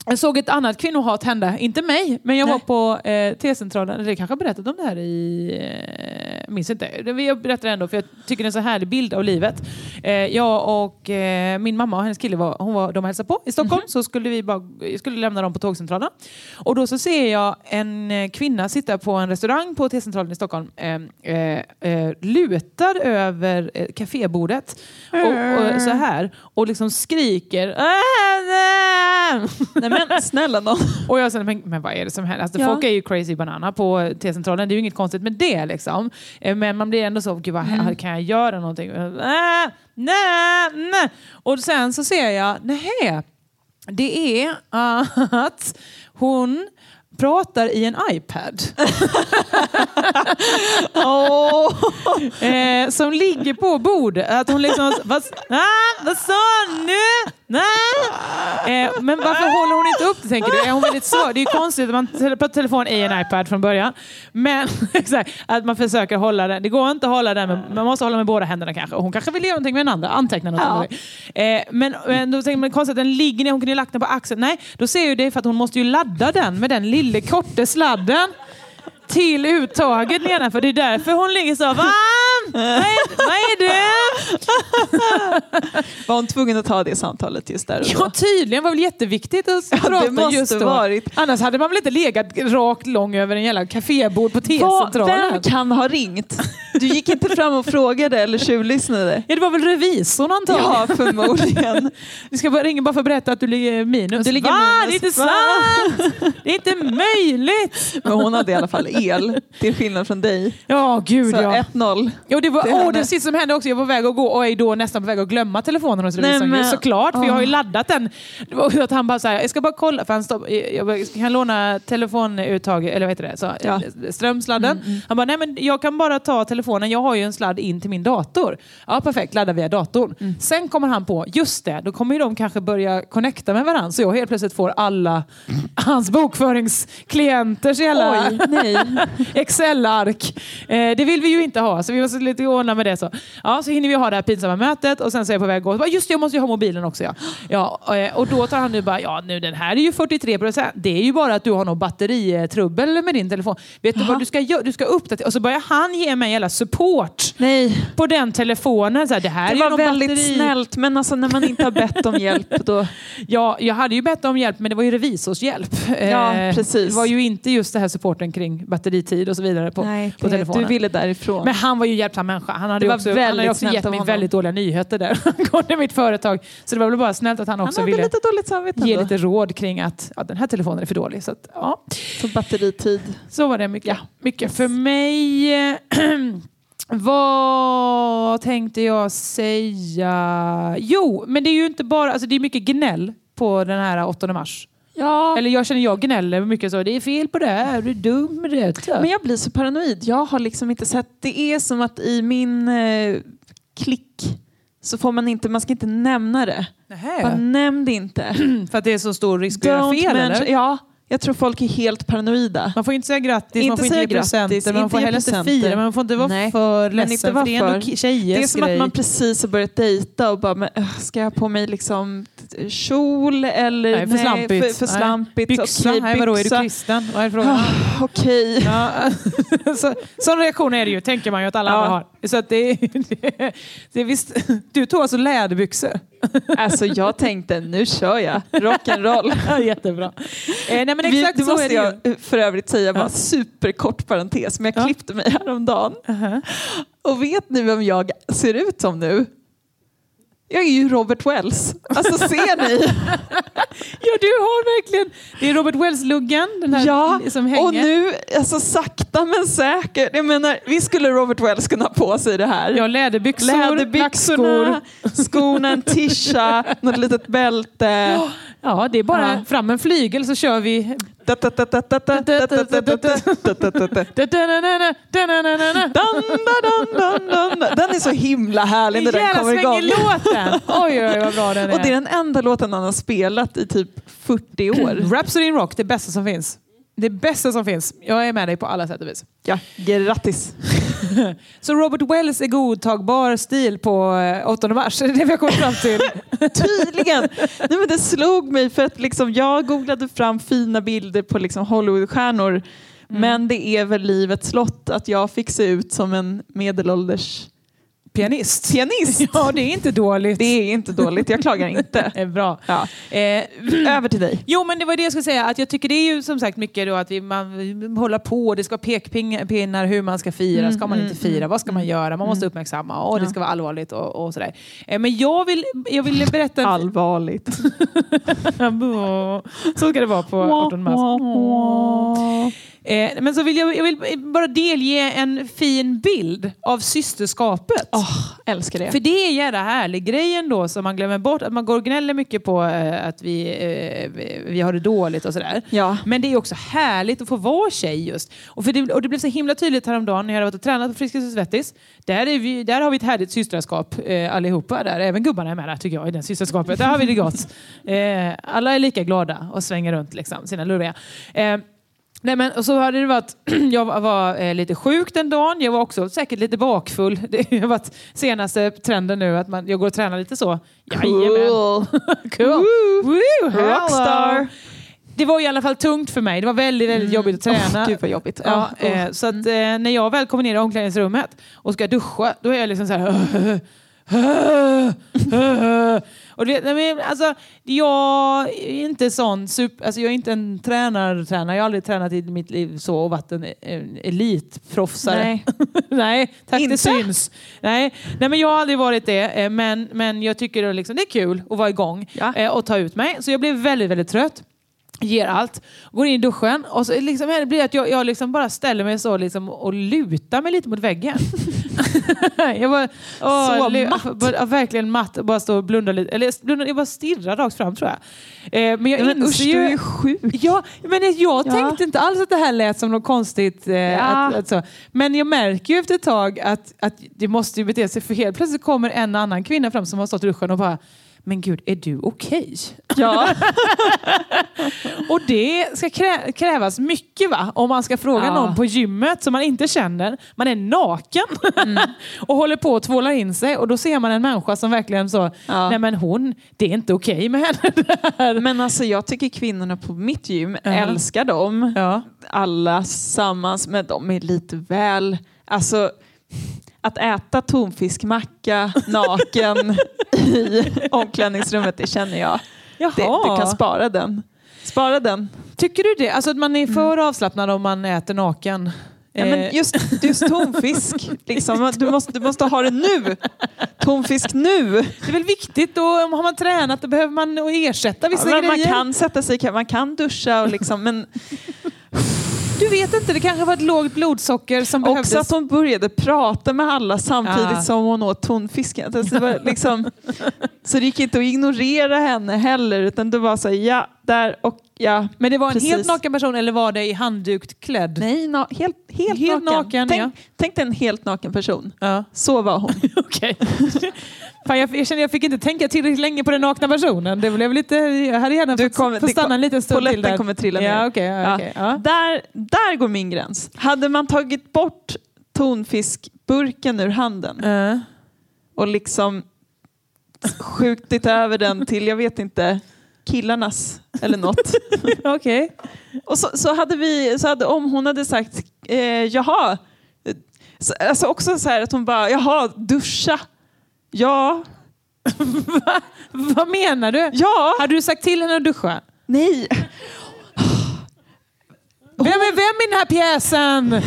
Jag såg ett annat kvinnohat hända, inte mig, men jag Nej. var på eh, T-centralen, eller jag kanske har berättat om det här i... Eh, minns inte. Det- Jag berättar ändå för jag tycker det är en så härlig bild av livet. Eh, jag och eh, min mamma och hennes kille, var, hon var, de hälsade på i Stockholm, så skulle vi bara, jag skulle lämna dem på tågcentralen. Och då så ser jag en eh, kvinna sitta på en restaurang på T-centralen i Stockholm, eh, eh, eh, lutad över eh, kafébordet Mm. och, och, så här och liksom skriker "Äh, äh!" Nej men snälla nån. Och jag kände, men, men vad är det som händer? Alltså, Ja. Folk är ju crazy banana på T-centralen, det är ju inget konstigt med det. Liksom. Eh, Men man blir ändå så, gud vad, Mm. kan jag göra någonting? Äh, nej, nej. Och sen så ser jag, nej, det är att hon pratar i en iPad. eh, som ligger på bordet. Att hon liksom... Vad, ah, vad sa hon nu? Nej. Eh, men varför håller hon inte upp det, tänker du? Är hon väldigt svag? Det är ju konstigt att man pratar telefon i en iPad från början. Men exakt, att man försöker hålla den. Det går inte att hålla den, men man måste hålla med båda händerna kanske. Och Hon kanske vill göra någonting med den andra, anteckna något. eller någonting. Eh, men, men då tänker man konstigt att den ligger ner, hon kunde ju lagt den på axeln. Nej, då ser ju det för att hon måste ju ladda den med den lille korte sladden till uttaget Lena, för det är därför hon ligger så. Va? Vad är, vad är det? Var hon tvungen att ta det samtalet just där och då? Ja, tydligen var det väl jätteviktigt att prata måste just då. varit. Annars hade man väl inte legat rakt lång över en jävla kafébord på Vad- T-centralen. Vem kan ha ringt? Du gick inte fram och frågade eller tjuvlyssnade? Ja, det var väl revisorn antagligen. Ja, förmodligen. Du ska bara ringa bara för att berätta att du ligger minus. Du ligger Va? minus. Det är inte Va? sant! Det är inte möjligt! Men hon hade i alla fall el, till skillnad från dig. Ja, gud Så ja. 1-0. Ja, det var Det det, hände. det sista som hände också. Jag var på väg att gå och är då nästan på väg att glömma telefonen hos revisorn. men- ju, Såklart, för jag har ju laddat den. Det var ju att han bara så här, jag ska bara kolla, för han stopp, jag bara, kan jag låna telefonuttag, eller vad heter det, så, Ja. Mm, strömsladden. Han bara, nej men jag kan bara ta telefonen, jag har ju en sladd in till min dator. Ja, perfekt, ladda via datorn. Mm. Sen kommer han på, just det, då kommer ju de kanske börja connecta med varandra, så jag helt plötsligt får alla hans bokföringsklienters jävla... Oj, nej. Excel-ark. Eh, det vill vi ju inte ha, så vi måste lite ordna med det. Så, ja, så hinner vi ha det här pinsamma mötet och sen så är jag på väg att gå. Och bara, Just det, jag måste ju ha mobilen också. Ja. Ja, eh, och då tar han nu bara, ja nu den här är ju 43 procent. Det är ju bara att du har någon batteritrubbel med din telefon. Vet du vad du ska göra? Du ska uppdatera. Och så börjar han ge mig hela support Nej. på den telefonen. Så här, det här är Det ju var någon väldigt batteri. snällt, men alltså, när man inte har bett om hjälp då... Ja, jag hade ju bett om hjälp, men det var ju revisorshjälp. Ja, precis. Det var ju inte just det här supporten kring batteritid och så vidare på, på telefonen. du ville därifrån. Men han var ju hjälpsam människa. Han hade, Det ju var också, han hade väldigt ju också snällt gett av mig honom. väldigt dåliga nyheter där angående mitt företag. Så det var väl bara snällt att han han också hade ville lite dåligt samvete ge ändå. lite råd kring att ja, den här telefonen är för dålig. Så, att, ja. Så batteritid. så var det mycket. mycket. För mig... eh, Vad tänkte jag säga? Jo, men det är ju inte bara... Alltså det är mycket gnäll på den här 8 mars. Ja. Eller jag känner jag gnäller mycket så. Det är fel på det här, du är dum, det är tö." Men jag blir så paranoid. Jag har liksom inte sett... Det är som att i min eh, klick så får man inte... Man ska inte nämna det. Nähä. Man nämn det inte. För att det är så stor risk att göra fel mention- eller? Ja, jag tror folk är helt paranoida. Man får inte säga grattis, man Inte får inte säga ge grattis, presenter, man inte får ge heller inte presenter. fira, men man får inte vara Nej, för men ledsen. inte för det är vara ändå för. ki- tjejers Det är som grej. att man precis har börjat dejta och bara, men, öh, ska jag ha på mig liksom kjol eller Nej, för slampigt. För, för Nej. slampigt. Byxa, Okej, nej, vadå, är du byxa. kristen? Vad är frågan? Okej. Ja, så, sån reaktion är det ju, tänker man ju att alla Ja. andra har. Så att det, är- det, det är visst, du tog alltså läderbyxor? Alltså jag tänkte, nu kör jag. Rock'n'roll. Ja, Jättebra. Eh, nej, men Vi- exakt det så är måste det ju. jag eh, för övrigt säga, bara superkort parentes, men Ja. jag Uh-huh. klippte mig häromdagen. Och vet ni vem jag ser ut som nu? Jag är ju Robert Wells. Alltså ser ni? Ja, du har verkligen... Det är Robert Wells-luggen, den här ja, som hänger. och nu, alltså sakta men säkert. Jag menar, vi skulle Robert Wells kunna ha på sig det här. Ja, läderbyxor, Läderbyxorna, lackskor. skorna, en tisha, något litet bälte. Ja, det är bara Ja. fram en flygel så kör vi Da, da, da, da, da, da, da, da, da, da, da, da, da, da. Da-da-na-na-na, da-na-na-na-na. Dun, dun, dun, dun, dun. Den är så himla härlig när den Jävla kommer igång. svängig låten! Oj, oj, vad bra den är. Och det är den enda låten han har spelat i typ 40 år. Rhapsody in Rock, det bästa som finns. Det bästa som finns. Jag är med dig på alla sätt och vis. Ja, grattis. Så Robert Wells är godtagbar stil på eh, 8 mars. Det är det vi har kommit fram till. Tydligen! Nej, men det slog mig för att liksom, jag googlade fram fina bilder på liksom Hollywoodstjärnor. Men det är väl livets lott att jag fick se ut som en medelålders Pianist. pianist. Ja, det är inte dåligt. Det är inte dåligt, jag klagar inte. är bra. Ja. Eh, Över till dig. Jo, men det var det jag skulle säga. Att jag tycker det är ju som sagt mycket då att vi, man vi håller på. Det ska vara pekpinnar hur man ska fira. ska man inte fira? Vad ska man göra? Man måste uppmärksamma. Och det ska vara allvarligt och, och sådär. Eh, men jag vill, jag vill berätta... Allvarligt. Så ska det vara på 18 mars. Eh, men så vill jag, jag vill bara delge en fin bild av systerskapet. Älskar det. För det är en jävla härlig grejen då som man glömmer bort. Att man går och gnäller mycket på eh, att vi, eh, vi- vi har det dåligt och sådär. Ja. Men det är också härligt att få vara tjej just. Och, för det, och det blev så himla tydligt häromdagen när jag hade varit och tränat på Friskis och Svettis. Där, är vi, där har vi ett härligt systraskap eh, allihopa. Där. Även gubbarna är med där tycker jag i det systraskapet. Där har vi det gott. Eh, alla är lika glada och svänger runt liksom, sina luriga. Eh, Nej, men och så hade det varit, jag var, var eh, lite sjuk den dagen. Jag var också säkert lite bakfull. Det har varit senaste trenden nu att man, jag går och tränar lite så. Jajamän. Cool. Woo, hello. Rockstar. Det var i alla fall tungt för mig. Det var väldigt, väldigt jobbigt att träna. Mm. Åh, gud vad jobbigt. Ja, Ja, Mm. eh, så att, eh, när jag väl kommer ner i omklädningsrummet och ska duscha, då är jag liksom så här... och du vet, nej, men, alltså, jag är inte sån super, alltså, jag är inte en tränartränare. Jag har aldrig tränat i mitt liv så och varit en, en elitproffsare. Nej. nej, tack det Inte? syns. Nej. nej, men jag har aldrig varit det. eh, Men, men jag tycker det, liksom, det är kul att vara igång Ja. eh, och ta ut mig. Så jag blev väldigt, väldigt trött. Ger allt. Går in i duschen och så liksom, här blir det att jag, jag liksom bara ställer mig så liksom, och lutar mig lite mot väggen. jag bara, åh, Så lu- matt. Bara, ja, verkligen matt. Bara står och blundar lite. Eller blundar, jag bara stirrar rakt fram tror jag. Eh, men jag Nej, men inser usch, du är ju sjuk. Ja, men jag Ja. tänkte inte alls att det här lät som något konstigt. Eh, att, att så. Men jag märker ju efter ett tag att, att det måste ju bete sig. För helt plötsligt kommer en annan kvinna fram som har stått i duschen och bara men gud, är du okej? Ja. Och det ska krä- krävas mycket va? Om man ska fråga Ja. någon på gymmet som man inte känner. Man är naken Mm. och håller på att tvåla in sig och då ser man en människa som verkligen så, Ja. nej men hon, det är inte okej med henne. Men alltså jag tycker kvinnorna på mitt gym älskar dem. Ja. Alla sammans, men de är lite väl... Alltså, att äta tonfiskmacka naken i omklädningsrummet, det känner jag. Jaha. Det, du kan spara den. Spara den. Mm. Tycker du det? Alltså att man är för avslappnad om man äter naken? Ja, men Eh, just, just tonfisk, liksom. du, måste, du måste ha det nu. Tonfisk nu. Det är väl viktigt och har man tränat då behöver man ersätta vissa Men man grejer. kan sätta sig i- man kan duscha och liksom, men Du vet inte, det kanske var ett lågt blodsocker som behövdes. Också att hon började prata med alla samtidigt Ja. som hon åt tonfisken. Alltså det var liksom, så det gick inte att ignorera henne heller utan det var så här, ja, där och ja. Men det var en Precis. helt naken person eller var det i handdukt klädd? Nej, na, helt, helt, Helt naken. naken, tänk, ja. tänk dig en helt naken person. Ja. Så var hon. Okej. Fan, jag, jag känner jag fick inte tänka tillräckligt länge på den nakna personen. Det blev lite, jag hade gärna Du fått, kommer- fått det kom- stanna en liten stund till Polletten där. kommer trilla Ja, ner. okej, ja, Ja. okej, ja. Där, där går min gräns. Hade man tagit bort tonfiskburken ur handen Eh. och liksom skjutit över den till, jag vet inte, killarnas eller något. Okej. Och så, så hade vi, så hade, om hon hade sagt eh, jaha, eh, så, alltså också så här att hon bara jaha, duscha. Ja, Vad menar du? ja, Hade du sagt till henne att duscha? nej. Vem är vem i den här pjäsen?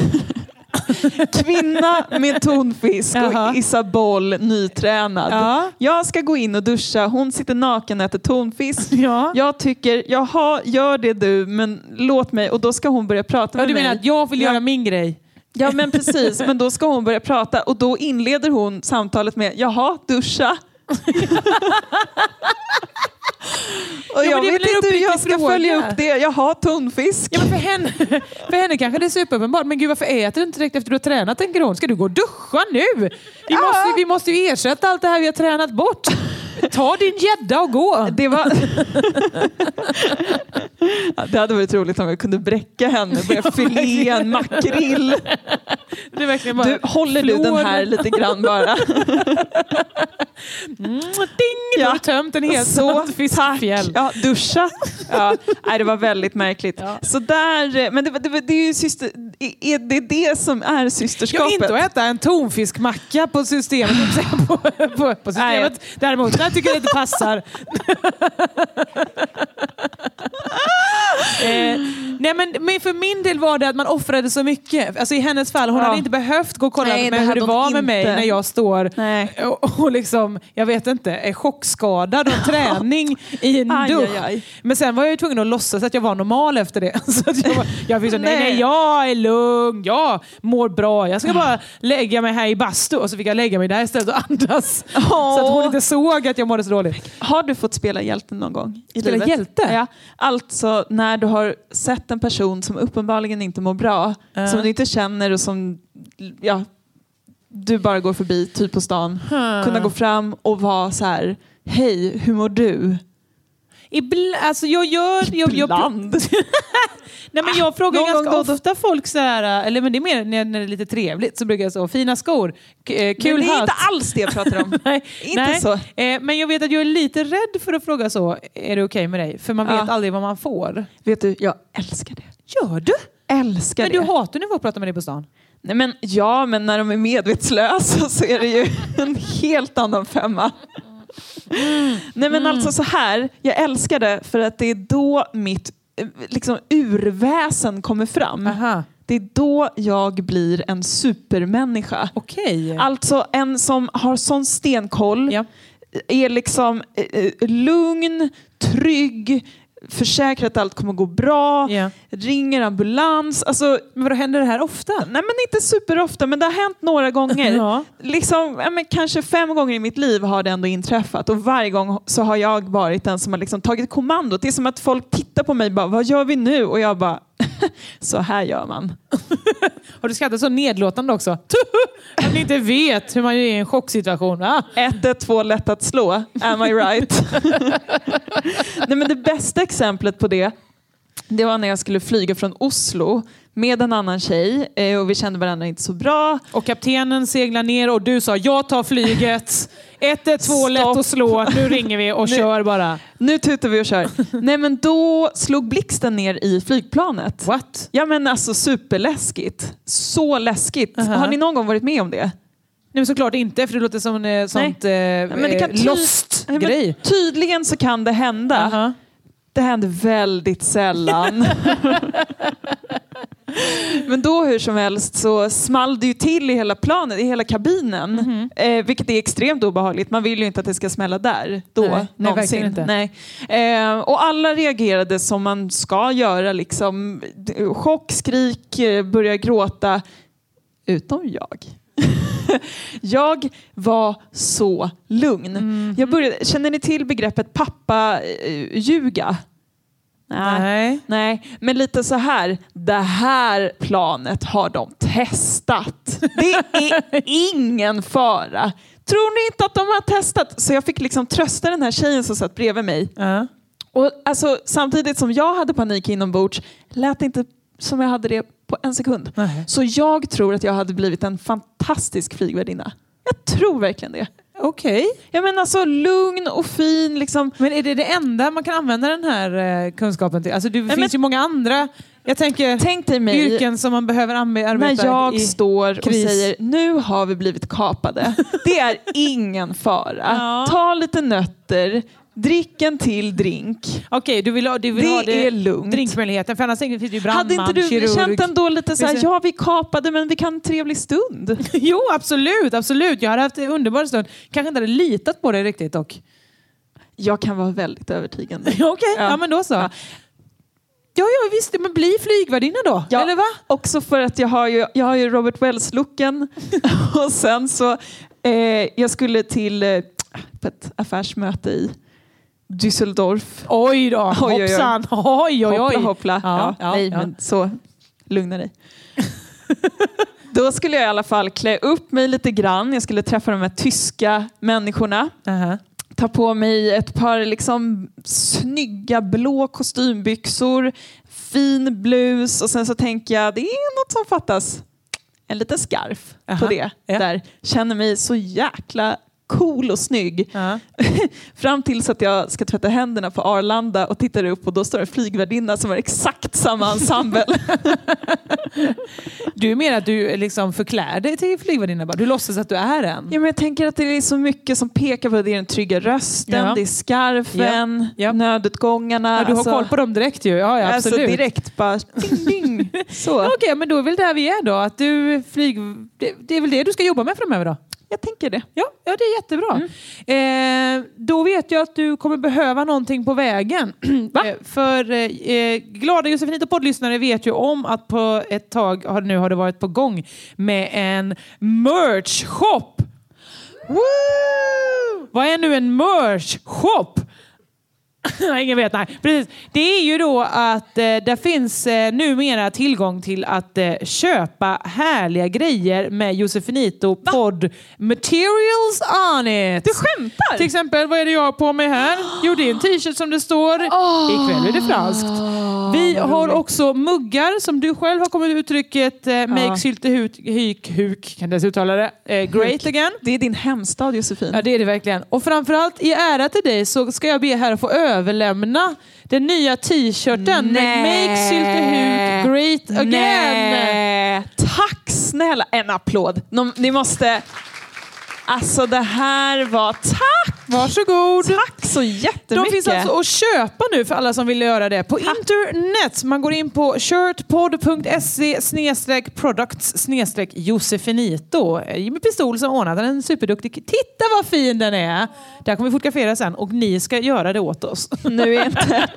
Kvinna med tonfisk Jaha. och Isabel nytränad. Ja. Jag ska gå in och duscha, hon sitter naken och äter tonfisk. Ja. Jag tycker, jaha, gör det du, men låt mig. Och då ska hon börja prata Ja, med du menar mig. att jag vill Ja. göra min grej? Ja men precis, men då ska hon börja prata och då inleder hon samtalet med jaha, duscha. och men jag det är vet väl en inte hur jag uppriktig ska fråga. följa upp det. Jaha, tonfisk. Ja, men för, henne, för henne kanske det är superuppenbart. Men gud, varför äter du inte direkt efter du har tränat, tänker hon. Ska du gå och duscha nu? Vi, måste, vi måste ju ersätta allt det här vi har tränat bort. Ta din gädda och gå. Det var... Det hade varit roligt om jag kunde bräcka henne och börja filea en makrill. Det är verkligen bara Du, håller du den här lite grann bara? Ding! Då har Ja. du tömt en hel Så, fiskfjäll. Ja, duscha. Ja, nej, det var väldigt märkligt. Så där, eh, men det, var- det, var- det är ju syster, är det det som är Jag systerskapet? vill inte att äta en tonfiskmacka på systemet. på, på, på systemet. Däremot, där tycker jag det inte passar. eh, nej men, men för min del var det att man offrade så mycket. Alltså, I hennes fall, hon Ja. hade inte behövt gå och kolla Nej, det med hur hade det hon var med mig inte. när jag står Nej. och, och liksom, jag vet inte, är chockskadad av träning i en Aj, dusch. aj, aj. Men sen var jag ju tvungen att låtsas att jag var normal efter det. Så att jag, var, jag fick så, nej, Nej. nej, jag är lugn, jag mår bra, jag ska bara lägga mig här i bastu. Och så fick jag lägga mig där istället och andas. Så att hon inte såg att jag mådde så dåligt. Har du fått spela hjälten någon gång? I Spela livet? hjälte? Ja. Alltså när du har sett en person som uppenbarligen inte mår bra, Ja. som du inte känner och som ja, du bara går förbi, typ på stan. Kunna gå fram och vara så här, hej, hur mår du? Ibland, alltså jag gör... Jag, jag, Ibland. nej men jag frågar Någon ganska gång då och då. ofta folk sådär, eller men det är mer när, när det är lite trevligt, så brukar jag så, fina skor, k- eh, Men kul det är hatt. inte alls det jag pratar om. Nej, Inte så. Eh, men jag vet att jag är lite rädd för att fråga så, är det okej med dig? För man vet Ja. aldrig vad man får. Vet du, jag älskar det. Gör du? Älskar Men det. du hatar när folk pratar med dig på stan. Nej, men, ja, men när de är medvetslösa så är det ju en helt annan femma. Nej men alltså Mm. så här, jag älskar det för att det är då mitt eh, liksom, urväsen kommer fram. Aha. Det är då jag blir en supermänniska. Okej. Alltså en som har sån stenkoll, Ja. är liksom eh, eh, lugn, trygg, försäkrar att allt kommer gå bra, Ja. ringer ambulans. Alltså, Men då händer det här ofta? Nej men inte superofta men det har hänt några gånger. Ja. Liksom, ja, men kanske fem gånger i mitt liv har det ändå inträffat och varje gång så har jag varit den som har liksom tagit kommandot. Det är som att folk tittar på mig och bara, vad gör vi nu? Och jag bara, så här gör man. Har du skrattat så nedlåtande också? Att ni inte vet hur man är i en chocksituation. Va? 112 lätt att slå, am I right? Nej, men det bästa exemplet på det, det var när jag skulle flyga från Oslo med en annan tjej eh, och vi kände varandra inte så bra. Och kaptenen seglar ner och du sa jag tar flyget. 112 lätt Stopp. att slå. Nu ringer vi och kör bara. Nu tutar vi och kör. Nej men då slog blixten ner i flygplanet. What? Ja men alltså superläskigt. Så läskigt. Har ni någon gång varit med om det? Nej men såklart inte för det låter som eh, sånt eh, Ja, men det kan eh, ty- lost Ja, men grej. Tydligen så kan det hända. Aha. Det händer väldigt sällan. Men då hur som helst så small det ju till i hela planet, i hela kabinen. Mhm. Eh, vilket är extremt obehagligt. Man vill ju inte att det ska smälla där då. Nej, nej, någonsin. verkligen inte. Nej. Eh, och alla reagerade som man ska göra. Liksom, D- chock, skrik, eh, börja gråta. Utom jag. jag var så lugn. Jag började, känner ni till begreppet pappa-ljuga? Nej. Nej, men lite så här. Det här planet har de testat. Det är ingen fara. Tror ni inte att de har testat? Så jag fick liksom trösta den här tjejen som satt bredvid mig. Ja. Och alltså, samtidigt som jag hade panik inombords lät det inte som jag hade det på en sekund. Nej. Så jag tror att jag hade blivit en fantastisk flygvärdinna. Jag tror verkligen det. Okej. Jag menar så alltså, lugn och fin liksom. Men är det det enda man kan använda den här eh, kunskapen till? Alltså det finns men- ju många andra jag tänker, Tänk dig mig yrken som man behöver anbe- arbeta när jag i. står och kris. säger nu har vi blivit kapade. Det är ingen fara. Ta lite nötter, drick en till drink. Okej, du vill ha, du vill Det ha det, är lugnt. drinkmöjligheten. För annars tänker- finns det ju brandman, Hade inte du kirurg. känt ändå lite så här, Finns det- ja vi kapade men vi kan ha en trevlig stund? Jo, absolut, absolut. Jag hade haft en underbar stund. Kanske inte hade litat på dig riktigt dock. Jag kan vara väldigt övertygande. Okej, ja. men då så. Ja, ja visst. Men bli flygvärdinna då. Ja, Eller va? Också för att jag har ju, jag har ju Robert Wells-looken. och sen så, eh, jag skulle till eh, på ett affärsmöte i Düsseldorf. Oj då, Oj, oj, oj. hoppsan. Oj, oj, oj. Hoppla hoppla. Ja, Ja, nej, ja. men så, lugna dig. Då skulle jag i alla fall klä upp mig lite grann. Jag skulle träffa de här tyska människorna. Aha. tar på mig ett par liksom snygga blå kostymbyxor, fin blus och sen så tänker jag det är något som fattas. En liten scarf på Aha, det. ja. Där. Känner mig så jäkla cool och snygg. Ja. Fram tills att jag ska tvätta händerna på Arlanda och tittar upp och då står det en flygvärdinna som har exakt samma ensemble. Du menar att du liksom förklär dig till flygvärdinna? bara? Du låtsas att du är en? Ja, men jag tänker att det är så mycket som pekar på det. Det är den trygga rösten, Ja. det är scarfen, Ja. Ja. nödutgångarna. Ja, du har alltså- koll på dem direkt ju. Ja, ja Alltså absolut. direkt bara ding, ding. Ja, Så. Okej, men då är väl där vi är då. Att du flyg... det, det är väl det du ska jobba med framöver då? Jag tänker det. Mm. Ja, ja det är jättebra. Eh, då vet jag att du kommer behöva någonting på vägen. Eh, För eh, glada Josefinito poddlyssnare vet ju om att på ett tag har, nu har det varit på gång med en merch-shop. Woo! Vad är nu en merch-shop? Nej, Ingen vet, nej. Precis. Det är ju då att eh, där finns eh, numera tillgång till att eh, köpa härliga grejer med Josefinito podd materials on it. Du skämtar? Till exempel, vad är det jag har på mig här? Jo, det är en t-shirt som det står “Ikväll är det franskt”. Vi har också muggar som du själv har kommit uttrycket eh, “Make sylte huk, huk, huk”, kan jag ens uttala det, eh, “Great again”. Det är din hemstad Josefin. Ja, det är det verkligen. Och framförallt i ära till dig så ska jag be här att få överlämna den nya t-shirten med Make Syltehuk Great Again. Nej. Tack snälla! En applåd. Nå- Ni måste... Alltså det här var... Tack! Varsågod. Tack så jättemycket! De finns alltså att köpa nu för alla som vill göra det på internet. Man går in på shirtpod.se snedstreck products snedstreck Josefinito. Eh, Jimmy Pistol som ordnat den. En superduktig. Titta vad fin den är! Där kommer vi fotografera sen och ni ska göra det åt oss. nu är inte...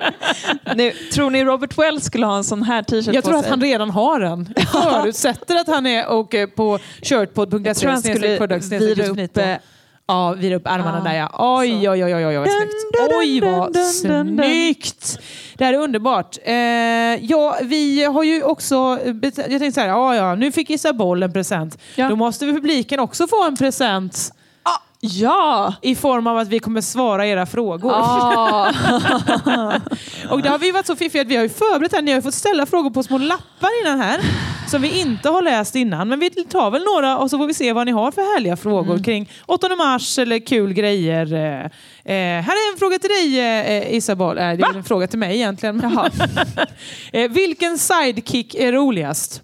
nu, tror ni Robert Wells skulle ha en sån här t-shirt på Jag tror att sig? han redan har den. Jag förutsätter att han är och eh, på shirtpod.se tror han skulle snedstreck product, snedstreck Ah, vira upp, Josefinito. eh, Ja, vira upp armarna där ja. Oj, oj, oj, oj, oj, vad snyggt. Dun, dun, Oj, vad dun, dun, dun, dun. snyggt! Det här är underbart. Eh, ja, vi har ju också... eh, bet- Jag tänkte så här, ja, ja, nu fick Isabelle en present. Ja. Då måste publiken också få en present Ja! i form av att vi kommer svara era frågor. Ah. Och det har vi varit så fiffiga att vi har ju förberett här. Ni har ju fått ställa frågor på små lappar innan här. Som vi inte har läst innan. Men vi tar väl några och så får vi se vad ni har för härliga frågor kring 8 mars eller kul grejer. Eh, eh, här är en fråga till dig eh, Isabel. Eh, det är väl en fråga till mig egentligen. eh, vilken sidekick är roligast?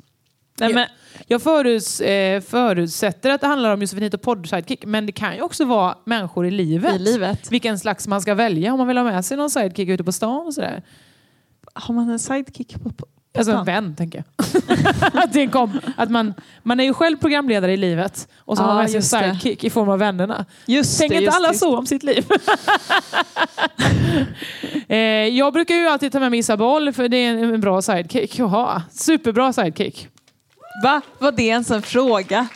Nej, men, Jag föruts, eh, förutsätter att det handlar om Josefinito podd-sidekick, men det kan ju också vara människor i livet. I livet. Vilken slags man ska välja om man vill ha med sig någon sidekick ute på stan och sådär. har man en sidekick på, på Alltså en stan? vän, tänker jag. att det kom, att man, man är ju själv programledare i livet och så har Ja, man med sig en just det. sidekick i form av vännerna. Just Tänker det, inte just alla det. så om sitt liv? eh, jag brukar ju alltid ta med mig Isabel för det är en, en bra sidekick att ha. Superbra sidekick. Va? Var det ens en fråga?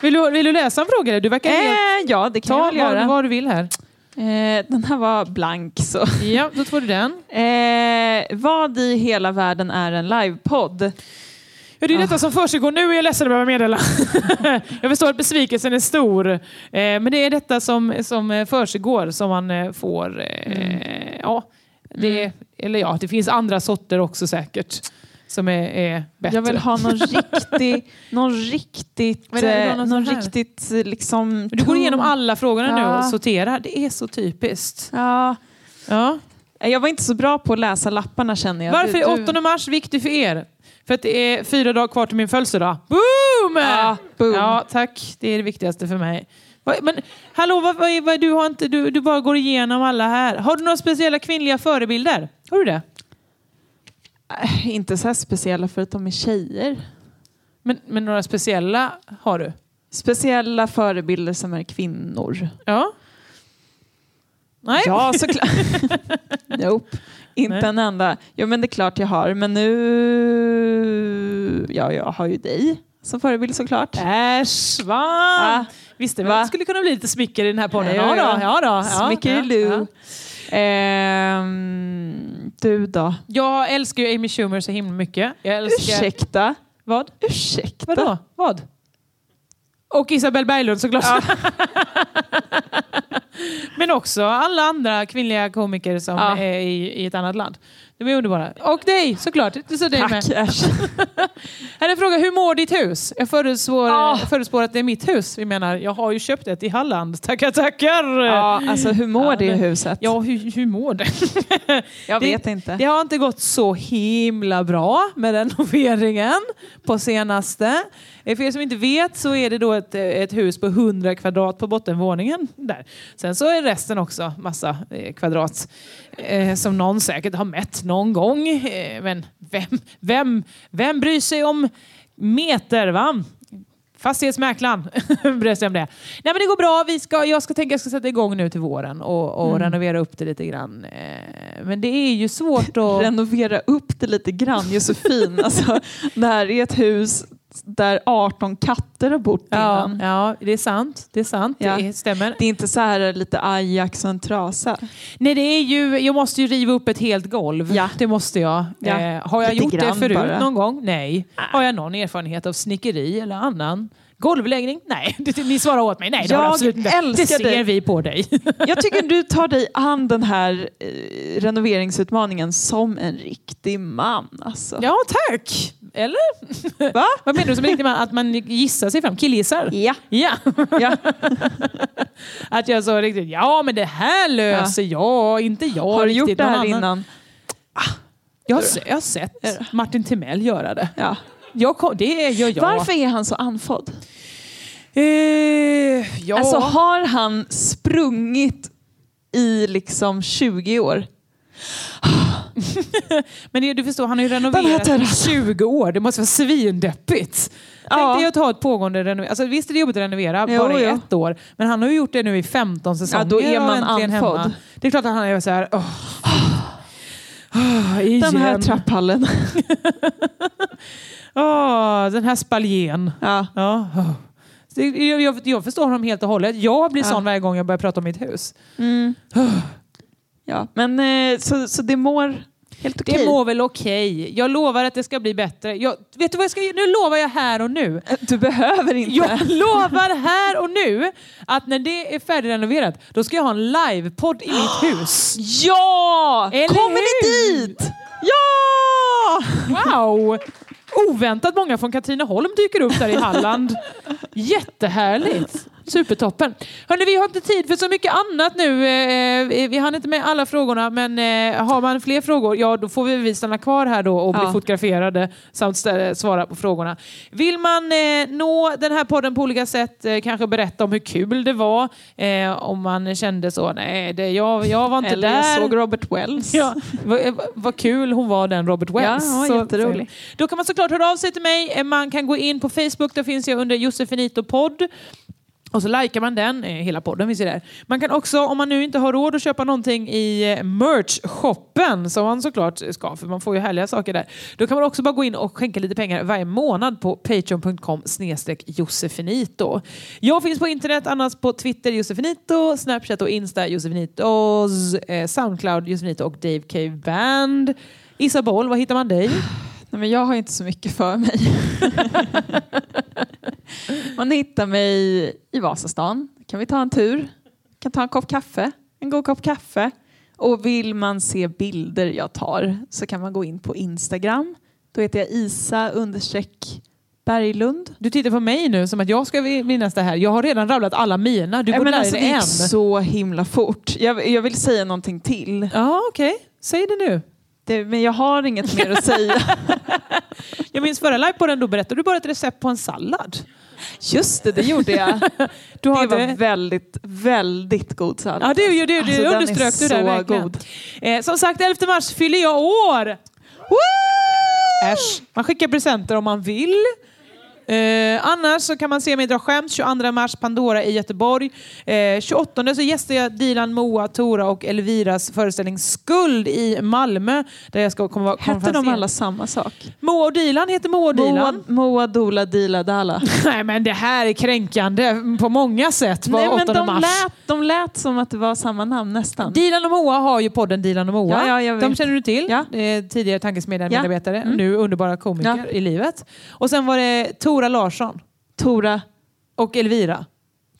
Vill du, vill du läsa en fråga? eller? Du verkar helt... Eh, ja, det kan Ta jag väl göra. vad, vad du vill här. Eh, den här var blank. Så. Ja, då får du den. Eh, vad i hela världen är en livepodd? Ja, Ah. det är detta som försiggår nu, är jag ledsen att behöva meddela. jag förstår att besvikelsen är stor. Eh, men det är detta som, som eh, försiggår som man eh, får... Eh, Mm. ja, det, Eller ja, det finns andra sorter också säkert som är, är bättre. Jag vill ha någon riktig... någon riktigt... Men det är eh, bra, någon någon sån här. riktigt eh, liksom... Du går igenom tung- alla frågorna nu Ja. och sorterar. Det är så typiskt. Ja. Ja. Eh, Jag var inte så bra på att läsa lapparna känner jag. Varför Du- är du- 8 mars viktig för er? För att det är fyra dagar kvar till min födelsedag. Boom! Ja, boom. Ja, tack. Det är det viktigaste för mig. Va- Men hallå, vad, vad, är- vad, du, har inte, du, du bara går igenom alla här. Har du några speciella kvinnliga förebilder? Har du det? Eh, Inte så här speciella för att de är tjejer. Men, men några speciella har du? Speciella förebilder som är kvinnor. Ja. Nej? Ja, såklart. nope. Inte Nej. en enda. Jo, men det är klart jag har. Men nu... Ja, jag har ju dig som förebild såklart. Äsch, va? Ja. Visste väl Va? att det skulle kunna bli lite smicker i den här podden? Ja, Ja, ja. då, ja, då, ja, Smickerilu. ja, ja. Ehm, du då? Jag älskar ju Amy Schumer så himla mycket. Jag älskar... Ursäkta? Vad? Ursäkta? Vadå? Vad? Och Isabel Berglund såklart. Men också alla andra kvinnliga komiker som Ja. är i, i ett annat land. De är underbara. Och dig såklart. Så dig med. Tack Ash. Här är en fråga, hur mår ditt hus? Jag förutspår, Ah. jag förutspår att det är mitt hus. Vi menar, jag har ju köpt ett i Halland. Tackar, tackar! Ja, alltså hur mår Ja, det men- huset? Ja, hur, hur mår det? jag det- vet inte. Det har inte gått så himla bra med renoveringen på senaste. Eh, För er som inte vet så är det då ett, eh, ett hus på 100 kvadrat på bottenvåningen. Där. Sen så är resten också massa eh, kvadrat eh, som någon säkert har mätt någon gång. Eh, men vem, vem, vem bryr sig om meter? Va? Fastighetsmäklaren bryr sig om det. Nej, men det går bra. Vi ska, jag ska tänka jag ska sätta igång nu till våren och, och Mm. renovera upp det lite grann. Eh, Men det är ju svårt att... renovera upp det lite grann, Josefin. alltså, det här är ett hus där 18 katter har bott Ja, innan. ja, det är sant. Det är sant. Ja. Det stämmer. Det är inte så här lite Ajax och en trasa. Nej, det är ju, jag måste ju riva upp ett helt golv. Ja. Det måste jag. Ja. Eh, har jag Lite gjort det grann förut bara. Ah. någon gång? Nej. Har jag någon erfarenhet av snickeri eller annan? Golvläggning? Nej, Det- ni svarar åt mig. Nej, det har Jag du absolut inte. Det älskar ser dig. vi på dig. Jag tycker du tar dig an den här eh, renoveringsutmaningen som en riktig man. Alltså. Ja, tack! Eller? Va? Vad menar du som riktig man? Att man gissar sig fram? Killgissar? Ja. Ja. Ja. Att jag så riktigt, ja men det här löser jag, inte jag. Har du gjort riktigt, det någon här annan. innan? Jag har, se- jag har sett Martin Timell göra det. Ja. Jag, kom- det gör jag. Varför är han så andfådd? Eh, ja. Alltså har han sprungit i liksom 20 år? men det, du förstår, han har ju Den här renoverat i terrassen. 20 år. Det måste vara svindeppigt. Tänk Ja. dig att ta ett pågående renovering. Alltså, visst är det jobbigt att renovera, Jo, bara i jo. ett år. Men han har ju gjort det nu i 15 säsonger. då är och man äntligen hemma. andfådd. Det är klart att han är så här... åh, åh, igen. Den här trapphallen. Åh, den här spaljen. Ja. Ja. åh. Så det- Jag, jag, jag förstår honom helt och hållet. Jag blir sån varje gång jag börjar prata om mitt hus. Ja. Men eh, så, så det mår helt okej? Det mår väl okej. Jag lovar att det ska bli bättre. Jag, vet du vad jag ska Nu lovar jag här och nu. Du behöver inte. Jag lovar här och nu att när det är färdigrenoverat, då ska jag ha en livepodd i mitt hus. Ja! Eller Kommer hur? ni dit? Ja! Wow! Oväntat många från Katrineholm dyker upp där i Halland. Jättehärligt! Supertoppen! Hörrni, vi har inte tid för så mycket annat nu. Eh, Vi hann inte med alla frågorna, men eh, har man fler frågor, ja då får vi väl stanna kvar här då och bli Ja. fotograferade samt stä- svara på frågorna. Vill man eh, nå den här podden på olika sätt, eh, kanske berätta om hur kul det var, eh, om man kände så, nej, det, jag, jag var inte Eller där. jag såg Robert Wells. Ja, vad, vad- vad kul hon var den Robert Wells. Ja, hon var Så- jätterolig. Då kan man såklart höra av sig till mig. Eh, Man kan gå in på Facebook, där finns jag under Josefinito podd. Och så likar man den, eh, hela podden finns ju där. Man kan också, om man nu inte har råd att köpa någonting i eh, merch-shoppen, som man såklart ska, för man får ju härliga saker där. Då kan man också bara gå in och skänka lite pengar varje månad på patreon.com snedstreck josefinito. Jag finns på internet, annars på Twitter josefinito, Snapchat och Insta josefinitos, eh, Soundcloud josefinito och Dave K Band. Isabel, var hittar man dig? Nej, men jag har inte så mycket för mig. Man hittar mig i Vasastan. Kan vi ta en tur? Kan ta en kopp kaffe. En god kopp kaffe. Och vill man se bilder jag tar så kan man gå in på Instagram. Då heter jag Isa understreck Berglund. Du tittar på mig nu som att jag ska minnas det här. Jag har redan rabblat alla mina. Du Nej, borde men lära alltså, det dig gick en. så himla fort. Jag, jag vill säga någonting till. Ja, okej. Säg det nu. Det, men jag har inget mer att säga. Jag minns förra livepodden, då berättade du bara ett recept på en sallad. Just det, det gjorde jag. Du har det var inte- väldigt, väldigt god sallad. Ja, det, det, det, Alltså, det den är underströk du där så verkligen. god. Eh, som sagt, 11 mars fyller jag år! Woo! Äsch. Man skickar presenter om man vill. Eh, annars så kan man se mig dra skämt 22 mars, Pandora i Göteborg. Eh, 28 så gästar jag Dilan, Moa, Tora och Elviras föreställning Skuld i Malmö. Där jag ska komma vara Hette de konferencier. alla samma sak? Moa och Dilan heter Moa och Moa, Dilan. Moa Dola Dila Dala. Nej men det här är kränkande på många sätt på Nej, men 8 de, mars. lät, de lät som att det var samma namn nästan. Dilan och Moa har ju podden Dilan och Moa. Ja, ja, jag de vet. känner du till. Ja. Eh, Tidigare Tankesmedjan Ja. Mm. medarbetare, nu underbara komiker Ja. i livet. Och sen var det Tora Larsson Tora och Elvira.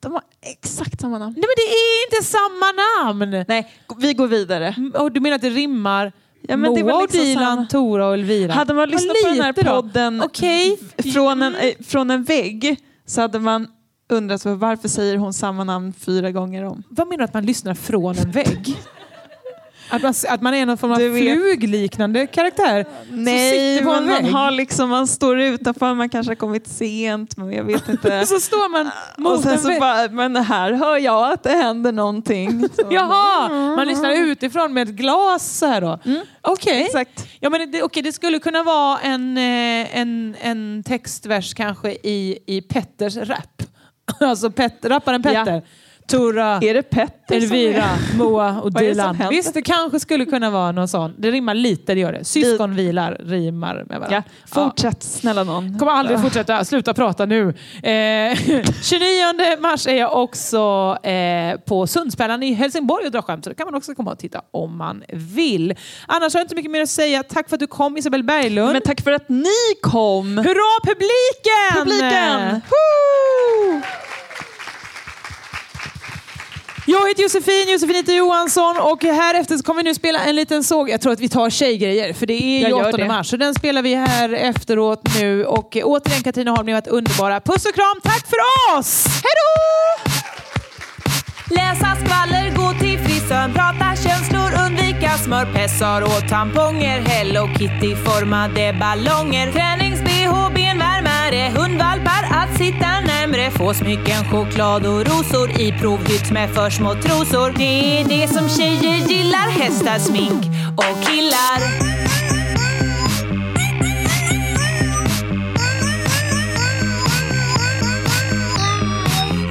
De har exakt samma namn. Nej men det är inte samma namn! Nej, vi går vidare. Mm, Och du menar att det rimmar Ja, men Moa, det var liksom och Dilan, samma- Tora och Elvira? Hade Vad man lyssnat på den här lite då. podden Okej. från, en, eh, från en vägg så hade man undrat var- Alltså, varför säger hon samma namn fyra gånger om. Vad menar du att man lyssnar från en vägg? Att man, att man är någon form av Du vet- flugliknande karaktär? som sitter på en men man, vägg. har liksom, man står utanför, man kanske har kommit sent, men jag vet inte. Och så står man och mot sen en så vägg. bara, men här hör jag att det händer någonting. Så, Jaha, man lyssnar utifrån med ett glas så här då. Okej. Mm. Exakt. Ja, men det, okej, det skulle kunna vara en, eh, en, en textvers kanske i, i Petters rap. Alltså Pet, rapparen Petter. Tora, Är det Petter Elvira, som är... Moa och Vad är det som Dilan. händer? Visst, det kanske skulle kunna vara någon sån. Det rimmar lite, det gör det. Syskon vilar, rimmar med varandra. Ja, fortsätt snälla någon. Kommer aldrig fortsätta. Sluta prata nu. Eh, 29 mars är jag också eh, på Sundsbällan i Helsingborg och drar skämt. Så det kan man också komma och titta om man vill. Annars har jag inte mycket mer att säga. Tack för att du kom Isabel Berglund. Men tack för att ni kom! Hurra publiken! Publiken! Woo! Jag heter Josefin, Josefin heter Johansson och här efter så kommer vi nu spela en liten såg. Jag tror att vi tar tjejgrejer för det är Jag ju gör 8 det. mars. Så den spelar vi här efteråt nu och eh, återigen Katrineholm, ni har varit underbara. Puss och kram, tack för oss! Hejdå! Läsa skvaller, gå till frisören, prata känslor, undvika smörpessar och tamponger, Hello Kitty-formade ballonger, tränings-bh, benvärmare, hundvalpar att sitta närmre, få smycken, choklad och rosor i provhytt med för små trosor. Det är det som tjejer gillar, hästar, smink och killar.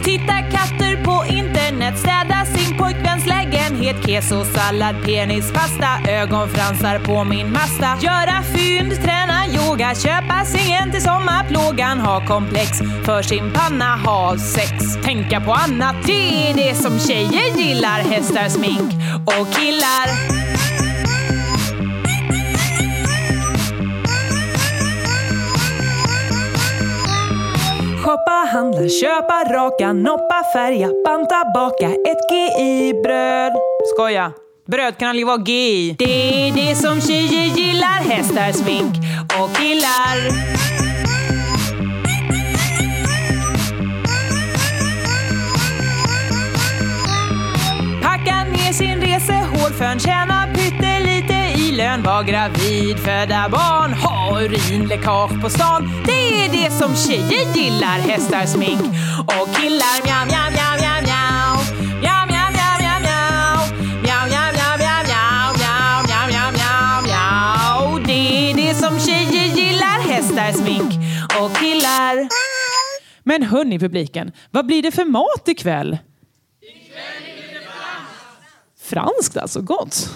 Titta katter på internet, städa sin pojkväns lägenhet Keso, sallad, penis, pasta, ögonfransar på min masta Göra fynd, träna yoga, köpa sängen till sommarplågan Ha komplex för sin panna, ha sex, tänka på annat Det är det som tjejer gillar, hästar, smink och killar Shoppa, handla, köpa, raka, noppa, färga, banta, baka ett GI-bröd. Skoja! Bröd kan aldrig vara GI. Det är det som tjejer gillar, hästar, smink och killar. Packa ner sin resehårfön, tjäna pyttelite i lön, var gravid, föda barn, ha urinläckage på stan. Det är det som tjejer gillar, hästar, smink och killar. Mjau, mjau, mjau, mjau, mjau. Mjau, mjau, mjau, mjau, mjau. Mjau, mjau, mjau, mjau, mjau, mjau, mjau, mjau, mjau, mjau. Det är det som tjejer gillar, hästar, smink och killar. Men hörni publiken, vad blir det för mat ikväll? Franskt alltså, gott.